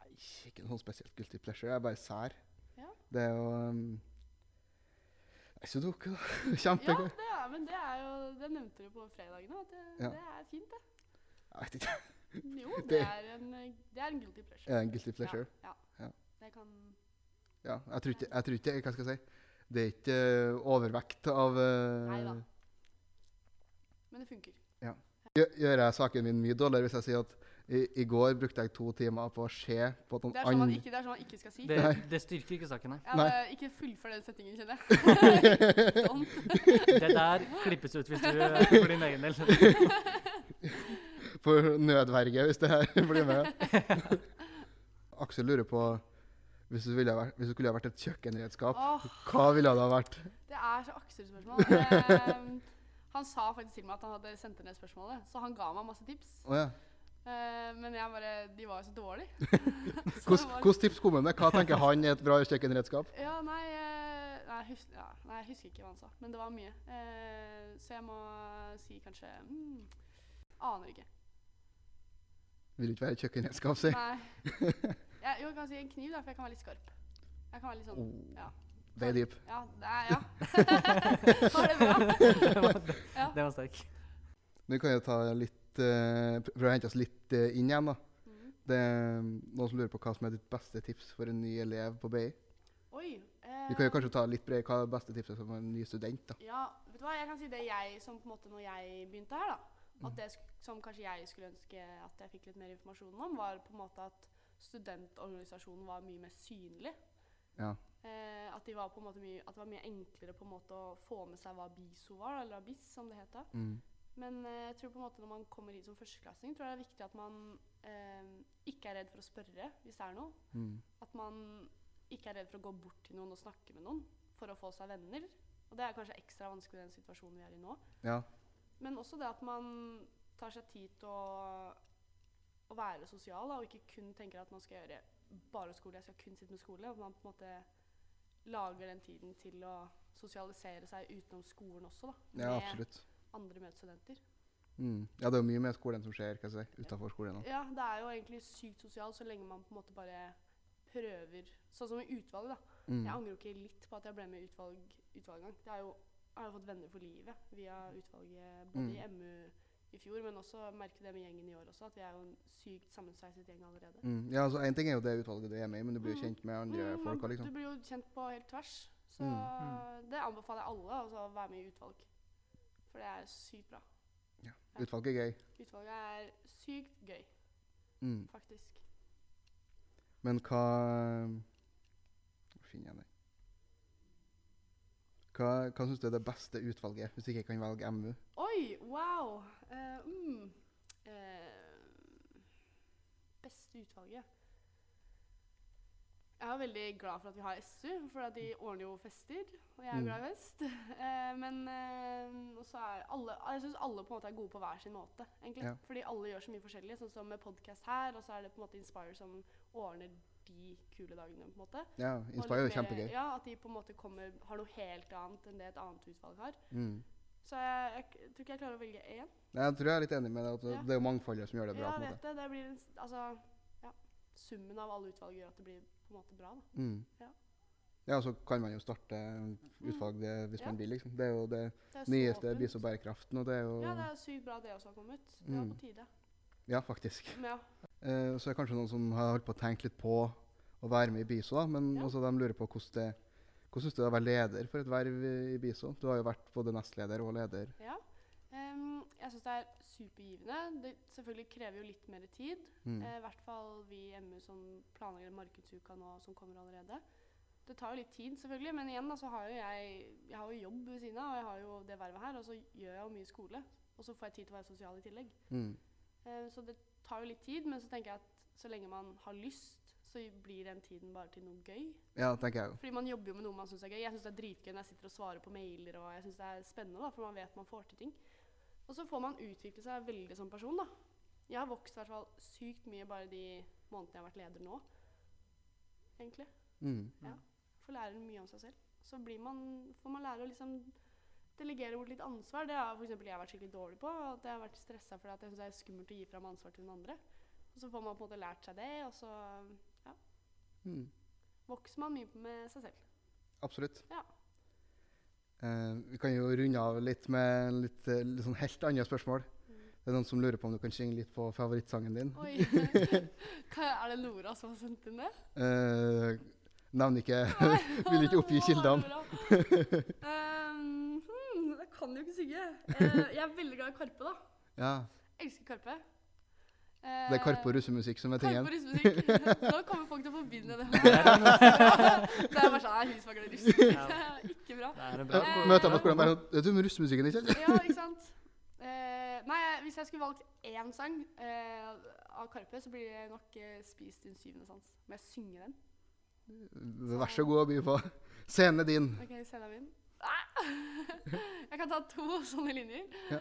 Speaker 2: ikke noe spesielt guilty pleasure. Jeg er bare sær.
Speaker 1: Ja.
Speaker 2: Det er jo um, Nei, Sudoku, da.
Speaker 1: Ja,
Speaker 2: Kjempegøy.
Speaker 1: det er, men det er jo Det nevnte du på fredagen òg, at det,
Speaker 2: Ja.
Speaker 1: det er fint, det.
Speaker 2: Jeg vet ikke.
Speaker 1: Jo, det
Speaker 2: Det-
Speaker 1: er en, eh, det er en guilty
Speaker 2: Er
Speaker 1: pleasure.
Speaker 2: det en guilty pleasure?
Speaker 1: Ja. ja.
Speaker 2: Ja.
Speaker 1: Det kan
Speaker 2: Ja. jeg, tror ikke, jeg tror ikke Hva skal jeg si? Det er ikke eh, overvekt av eh,
Speaker 1: Nei da. Men det funker.
Speaker 2: gjø- Gjør jeg saken min mye dårligere hvis jeg sier at i, i går brukte jeg to timer på å se på at noen
Speaker 1: Det er sånn man
Speaker 2: andre-
Speaker 1: ikke, det er sånn man ikke skal si.
Speaker 4: Det,
Speaker 2: Nei.
Speaker 4: det styrker ikke saken her.
Speaker 1: Ja,
Speaker 2: Nei.
Speaker 1: det- ikke fullfør den setningen, kjenner jeg. Don't.
Speaker 4: Det der klippes ut hvis du eh, for din egen del.
Speaker 2: på nødverge hvis det her blir med. Aksel lurer på hvis du, ville ha vært, hvis du skulle ha vært et kjøkkenredskap,
Speaker 1: Åh.
Speaker 2: hva ville det ha vært?
Speaker 1: Det er så Aksel-spørsmål. Ehm, han sa faktisk til meg at han hadde sendt ned spørsmålet, så han ga meg masse tips.
Speaker 2: Å ja.
Speaker 1: Eh, men jeg bare, de var jo så dårlige. Så det var-
Speaker 2: Hvilke tips kom han med? Hva tenker han er et bra kjøkkenredskap?
Speaker 1: Ja, nei, eh, nei, jeg hus- ja, nei, jeg husker ikke hva han sa, men det var mye. Eh, så jeg må si kanskje mm, Aner ikke.
Speaker 2: Vil ikke være et kjøkkenredskap, si.
Speaker 1: Nei. Jeg, jo, jeg kan si en kniv, da, for jeg kan være litt skarp. Jeg kan være litt sånn
Speaker 2: Oh,
Speaker 1: ja.
Speaker 2: det er dyp.
Speaker 1: Ja. Det er, ja. var det bra?
Speaker 4: Det var, det,
Speaker 1: Ja.
Speaker 4: det var sterk.
Speaker 2: Nå kan jeg ta litt, eh, pr- prøve å hente oss litt eh, inn igjen. da.
Speaker 1: Mm.
Speaker 2: Det er Noen som lurer på hva som er ditt beste tips for en ny elev på BI?
Speaker 1: Oi. Eh,
Speaker 2: Vi kan jo kanskje ta litt bredere hva er beste tipset for en ny student? da.
Speaker 1: Ja, vet du hva, jeg kan si det jeg som på en måte når jeg begynte her, da. At det sk som kanskje jeg skulle ønske at jeg fikk litt mer informasjon om, var på en måte at studentorganisasjonen var mye mer synlig.
Speaker 2: Ja.
Speaker 1: Eh, at, de var på en måte mye, at det var mye enklere på en måte å få med seg hva BISO var, eller ABIS som det het da.
Speaker 2: Mm.
Speaker 1: Men eh, jeg tror på en måte når man kommer hit som førsteklassing, tror jeg det er viktig at man eh, ikke er redd for å spørre hvis det er noe.
Speaker 2: Mm.
Speaker 1: At man ikke er redd for å gå bort til noen og snakke med noen for å få seg venner. Og det er kanskje ekstra vanskelig i den situasjonen vi er i nå.
Speaker 2: ja.
Speaker 1: Men også det at man tar seg tid til å, å være sosial, da, og ikke kun tenker at man skal gjøre bare skole, jeg skal kun sitte med skole. At man på en måte lager den tiden til å sosialisere seg utenom skolen også, da.
Speaker 2: Ja, absolutt.
Speaker 1: Med andre medstudenter.
Speaker 2: Mm. Ja, det er jo mye med skolen som skjer hva skal jeg si, utafor skolen. da.
Speaker 1: Ja, det er jo egentlig sykt sosialt så lenge man på en måte bare prøver. Sånn som i utvalg, da.
Speaker 2: Mm.
Speaker 1: Jeg angrer jo ikke litt på at jeg ble med i utvalg, utvalg en gang. Det er jo, jeg har jo fått venner for livet via utvalget
Speaker 2: Mm.
Speaker 1: både i MU i fjor, men også merke det med gjengen i år også, at vi er jo en sykt sammensveiset gjeng allerede.
Speaker 2: Mm. Ja, altså Én ting er jo det utvalget du er med i, men du blir jo
Speaker 1: Mm.
Speaker 2: kjent med andre
Speaker 1: Mm,
Speaker 2: folk
Speaker 1: man-
Speaker 2: òg, liksom.
Speaker 1: Du blir jo kjent på helt tvers. Så
Speaker 4: Mm.
Speaker 1: det anbefaler jeg alle, altså, å være med i utvalg. For det er sykt bra.
Speaker 2: Ja. Utvalget er gøy.
Speaker 1: Utvalget er sykt gøy,
Speaker 2: Mm.
Speaker 1: faktisk.
Speaker 2: Men hva Hvor finner jeg den? Hva, hva syns du er det beste utvalget, hvis ikke jeg kan velge MU?
Speaker 1: Oi, wow! Eh, mm. Eh, beste utvalget. Jeg er jo veldig glad for at vi har SU, for at de ordner jo fester. Og jeg er
Speaker 2: Mm.
Speaker 1: glad i fest. Eh, men eh, også er alle, jeg syns alle på en måte er gode på hver sin måte. egentlig.
Speaker 2: Ja.
Speaker 1: Fordi alle gjør så mye forskjellig. Sånn som med podkast her, og så er det på en måte Inspire som ordner de kule dagene. på en måte.
Speaker 2: Ja,
Speaker 1: Og
Speaker 2: Inspire er
Speaker 1: litt
Speaker 2: jo
Speaker 1: mer-
Speaker 2: kjempegøy.
Speaker 1: Ja, At de på en måte kommer, har noe helt annet enn det et annet utvalg har.
Speaker 2: Mm.
Speaker 1: Så jeg, jeg k- tror ikke jeg klarer å velge én.
Speaker 2: Nei, Jeg tror jeg er litt enig med deg. at
Speaker 1: Ja.
Speaker 2: Det er jo mangfoldet som gjør det bra.
Speaker 1: Ja, jeg
Speaker 2: på en måte.
Speaker 1: vet det. Det blir en s- Altså, ja. Summen av alle utvalg gjør at det blir på en måte bra, da.
Speaker 2: Mm.
Speaker 1: Ja. Mm.
Speaker 2: Ja, og så kan man jo starte utvalg det, hvis
Speaker 1: Ja.
Speaker 2: man vil, liksom. Det er jo det
Speaker 1: Det er så
Speaker 2: nyeste
Speaker 1: åpent.
Speaker 2: Bis og bærekraften, og det er jo
Speaker 1: Ja, det
Speaker 2: Ja,
Speaker 1: er sykt bra det også har kommet. Det var
Speaker 2: Mm.
Speaker 1: på tide.
Speaker 2: faktisk.
Speaker 1: Men ja.
Speaker 2: Eh, så er det kanskje noen som har holdt på å tenke litt på å være med i BISO, da, men
Speaker 1: Ja.
Speaker 2: også de lurer på hvordan det hvordan syns du det er å være leder for et verv i BISO? Du har jo vært både nestleder og leder.
Speaker 1: ja. Em, jeg syns det er supergivende. Det selvfølgelig krever jo litt mer tid.
Speaker 2: Mm.
Speaker 1: Eh, I hvert fall vi i MU som planlegger markedsuka nå, som kommer allerede. Det tar jo litt tid, selvfølgelig, men igjen da, så har jo jeg, jeg har jo jobb ved siden av, og jeg har jo det vervet her, og så gjør jeg jo mye skole. Og så får jeg tid til å være sosial i tillegg.
Speaker 2: Mm.
Speaker 1: Eh, Så det tar jo litt tid, men så tenker jeg at så lenge man har lyst, så blir den tiden bare til noe gøy.
Speaker 2: Ja, tenker jeg jo.
Speaker 1: Fordi man jobber jo med noe man syns er gøy. Jeg syns det er dritgøy når jeg sitter og svarer på mailer, og jeg syns det er spennende, da, for man vet man får til ting. Og så får man utvikle seg veldig som person, da. Jeg har vokst i hvert fall sykt mye bare de månedene jeg har vært leder nå, egentlig.
Speaker 2: Mm.
Speaker 1: Får lære mye om seg selv. Så blir man, får man lære å liksom delegere bort litt ansvar. Det har f.eks. jeg vært skikkelig dårlig på. At jeg har vært stressa fordi at jeg syns det er skummelt å gi fra meg ansvar til noen andre. Og så får man på en måte lært seg det, og så
Speaker 2: Mm.
Speaker 1: vokser man mye med seg selv.
Speaker 2: Absolutt.
Speaker 1: Ja.
Speaker 2: Eh, vi kan jo runde av litt med en litt, eh, litt sånn helt annet spørsmål. Det er noen som lurer på om du kan synge litt på favorittsangen din.
Speaker 1: Oi! Hva, er det Nora som har sendt inn det?
Speaker 2: Uh, Navn ikke Vil ikke oppgi
Speaker 1: Å,
Speaker 2: kildene.
Speaker 1: Nora. Ehm, hmm, jeg kan jo ikke synge. Eh, jeg er veldig glad i Karpe, da.
Speaker 2: Ja,
Speaker 1: Jeg elsker Karpe.
Speaker 2: Det er Karpe og
Speaker 1: Eh,
Speaker 2: russemusikk som er
Speaker 1: Karpe
Speaker 2: tingen.
Speaker 1: og russmusikk. Nå kommer folk til å forbinde det med Det er bare sånn Nei, hun som er glad i russmusikk. Det er Ikke bra.
Speaker 4: Det er en
Speaker 2: Ja,
Speaker 4: bra
Speaker 1: Eh,
Speaker 2: møter jeg på skolen bare sånn, Vet du om russemusikken, ikke?
Speaker 1: Ja, ikke sant? Eh, nei, hvis jeg skulle valgt én sang eh, av Karpe, så blir det nok eh, 'Spis din syvende sans'. Må jeg synge den?
Speaker 2: Vær så god å by på. Scenen er din.
Speaker 1: Ok, scenen min. Ah! Jeg kan ta to sånne linjer.
Speaker 2: Ja.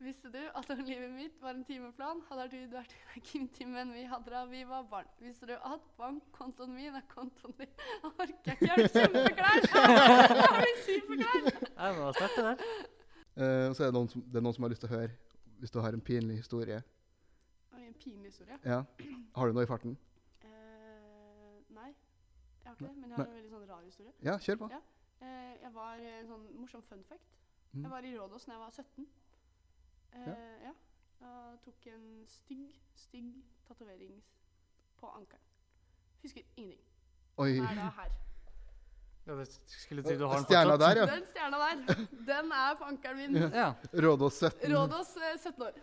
Speaker 1: Visste du at om livet mitt var en timeplan, hadde du vært i den gymtimen vi hadde da vi var barn. Visste du at bankkontoen min er kontoen din? Jeg orker ikke, jeg blir kjempeklar! Jeg blir superklar!
Speaker 4: Det var sterkt, det der.
Speaker 2: Eh, og så er det noen, som, det er noen som har lyst til å høre hvis du har en pinlig historie.
Speaker 1: Oi, en pinlig historie.
Speaker 2: Ja. Har du noe i farten?
Speaker 1: Eh, nei, jeg har ikke det, men jeg har en veldig sånn rar historie.
Speaker 2: Ja, kjør på.
Speaker 1: Eh, jeg var eh, en sånn morsom fun fact.
Speaker 2: Mm.
Speaker 1: Jeg var i Rådås da jeg var 17.
Speaker 2: Ja.
Speaker 1: Eh, ja. Jeg tok en stygg, stygg tatovering s- på ankelen. Husker ingenting.
Speaker 2: Oi.
Speaker 1: Den er da her.
Speaker 4: Ja, det skulle si du har den
Speaker 2: Stjerna
Speaker 4: fortsatt.
Speaker 2: der, ja.
Speaker 1: Den stjerna der, den er på ankelen min.
Speaker 4: Ja.
Speaker 2: Rådås 17.
Speaker 1: Rådås eh, 17 år.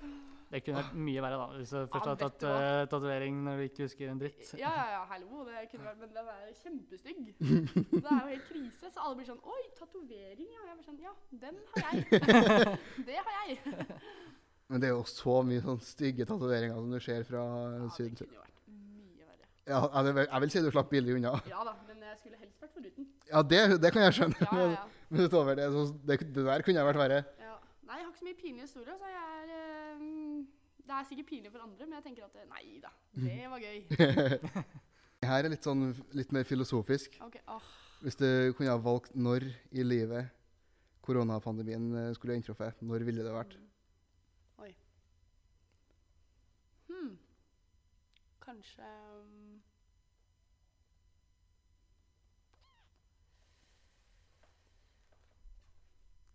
Speaker 4: Det kunne vært mye verre, da. Hvis du først har
Speaker 1: vet
Speaker 4: tatt
Speaker 1: du hva?
Speaker 4: eh, tatovering når du ikke husker en dritt.
Speaker 1: Ja, ja, ja, hallo, det kunne vært, men den er kjempestygg. Det er jo helt krise, så alle blir sånn Oi, tatovering, ja. Jeg blir sånn, ja, den har jeg. Det har jeg.
Speaker 2: Men det er jo så mye sånn stygge tatoveringer som du ser fra
Speaker 1: Ja,
Speaker 2: eh,
Speaker 1: det
Speaker 2: Syden.
Speaker 1: kunne jo vært mye verre.
Speaker 2: Ja, jeg vil- jeg vil si du slapp billig unna.
Speaker 1: Ja da, men jeg skulle helst vært foruten.
Speaker 2: Ja, det, det kan jeg skjønne.
Speaker 1: Ja, ja,
Speaker 2: Men,
Speaker 1: ja.
Speaker 2: men utover det, så, det, det der kunne jeg vært verre.
Speaker 1: Ja. Nei, jeg har ikke så mye pinlige historier, så jeg er eh, Det er sikkert pinlig for andre, men jeg tenker at eh, Nei da, det var gøy.
Speaker 2: Her er litt sånn litt mer filosofisk.
Speaker 1: Ok, ah. åh,
Speaker 2: Hvis du kunne ha valgt når i livet koronapandemien eh, skulle ha inntruffet, når ville det vært?
Speaker 1: hmm. Kanskje um,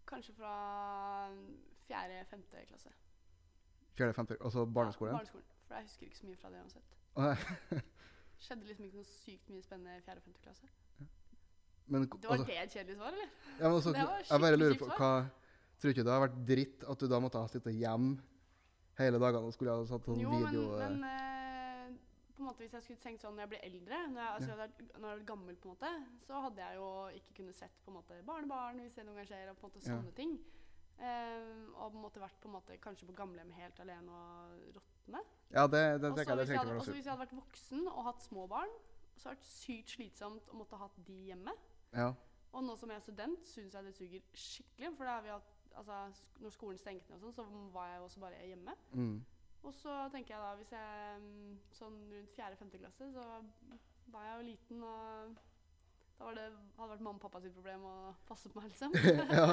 Speaker 1: Kanskje fra 4.-5. klasse.
Speaker 2: Fjerde, femte, altså barneskolen?
Speaker 1: Ja, barneskolen. For jeg husker ikke så mye fra det uansett.
Speaker 2: Å,
Speaker 1: Skjedde liksom ikke noe sykt mye spennende i 4.-5. klasse.
Speaker 2: Men,
Speaker 1: Det var
Speaker 2: altså,
Speaker 1: det et kjedelig svar, eller?
Speaker 2: ja, men altså,
Speaker 1: det var
Speaker 2: jeg bare
Speaker 1: skikkelig
Speaker 2: lurer
Speaker 1: kjipt
Speaker 2: på
Speaker 1: svar.
Speaker 2: hva Tror ikke det har vært dritt at du da måtte ha sittet hjemme hele dagene og skulle ha satt sånn
Speaker 1: jo,
Speaker 2: video
Speaker 1: men, men eh, på en måte hvis jeg skulle tenkt sånn når jeg blir eldre, når jeg, altså, jeg hadde vært- når jeg var gammel, på en måte, så hadde jeg jo ikke kunnet sett på en måte barnebarn hvis det noen gang skjer, og på en måte
Speaker 2: Ja.
Speaker 1: sånne ting. Eh, og på en måte vært på en måte kanskje på gamlehjem helt alene og råtne.
Speaker 2: Ja, det, det,
Speaker 1: Og
Speaker 2: det,
Speaker 1: så
Speaker 2: det, det
Speaker 1: hvis, jeg
Speaker 2: trengte
Speaker 1: hadde-
Speaker 2: vel
Speaker 1: også
Speaker 2: også.
Speaker 1: hvis jeg hadde vært voksen og hatt små barn, så hadde det vært sykt slitsomt å måtte ha hatt de hjemme.
Speaker 2: Ja.
Speaker 1: Og nå som jeg er student, syns jeg det suger skikkelig. For da har vi hatt, altså, sk- når skolen stengte ned, og sånn, så var jeg jo også bare hjemme.
Speaker 2: Mm.
Speaker 1: Og så tenker jeg da, hvis jeg mm, sånn rundt 4.-5. klasse, så var jeg jo liten, og da var det, hadde det vært mamma og pappa sitt problem å passe på meg, liksom.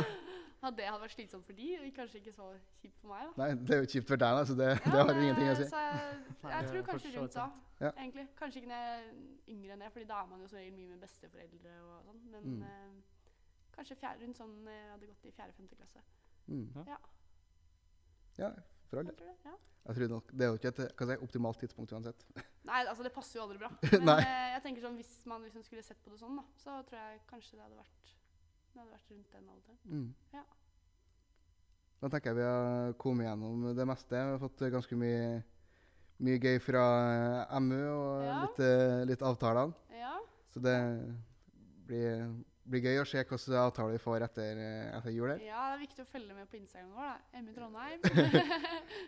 Speaker 1: At det hadde vært slitsomt for de, og kanskje ikke så kjipt for meg, da.
Speaker 2: Nei, det er jo kjipt for deg, da, så det, det har jo ingenting å si.
Speaker 1: Så jeg,
Speaker 4: Nei,
Speaker 1: jeg
Speaker 4: det
Speaker 1: tror
Speaker 4: er
Speaker 1: kanskje
Speaker 4: for så
Speaker 1: rundt da,
Speaker 4: sant.
Speaker 2: Ja.
Speaker 1: egentlig. Kanskje ikke når jeg er yngre enn det, fordi da er man jo som regel mye med besteforeldre og sånn, men
Speaker 2: Mm.
Speaker 1: eh, kanskje fjerde, rundt sånn eh, jeg hadde gått i 4.-5. klasse.
Speaker 2: Mm.
Speaker 1: Ja.
Speaker 2: Ja, for all
Speaker 1: Jeg
Speaker 2: del.
Speaker 1: tror det, ja.
Speaker 2: Jeg tror nok, Det er jo ikke et hva skal jeg si, optimalt tidspunkt uansett.
Speaker 1: Nei, altså det passer jo aldri bra. Men
Speaker 2: Nei.
Speaker 1: eh, jeg tenker sånn, hvis man liksom skulle sett på det sånn, da, så tror jeg kanskje det hadde vært, det hadde vært rundt den alderen.
Speaker 2: Mm.
Speaker 1: Ja.
Speaker 2: Da tenker jeg vi har kommet gjennom det meste. Vi har fått ganske mye, mye gøy fra eh, MU og
Speaker 1: Ja.
Speaker 2: litt, eh, litt avtalene.
Speaker 1: Ja,
Speaker 2: Så det blir, blir gøy å se hvilke avtaler vi får etter, eh, etter jul. her.
Speaker 1: ja, det er viktig å følge med på Instagramen vår, da. Emmy Trondheim.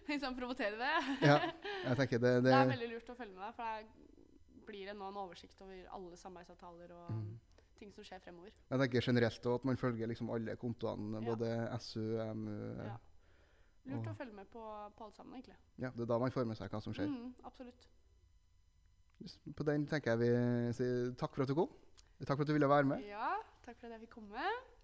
Speaker 1: liksom provotere det.
Speaker 2: Ja, jeg tenker
Speaker 1: Det
Speaker 2: det, det,
Speaker 1: er veldig lurt å følge med der, for der blir det nå en oversikt over alle samarbeidsavtaler og
Speaker 2: Mm.
Speaker 1: ting som skjer fremover.
Speaker 2: jeg tenker generelt også at man følger liksom alle kontoene,
Speaker 1: Ja.
Speaker 2: både SU, MU ja.
Speaker 1: Ja. Lurt
Speaker 2: Og-
Speaker 1: å følge med på, på alle sammen, egentlig.
Speaker 2: Det er da man får med seg hva som skjer.
Speaker 1: Mm, absolutt. Mm.
Speaker 2: På den tenker jeg vi sier takk for at du kom. Takk for at du ville være med.
Speaker 1: Ja, takk for at jeg fikk komme.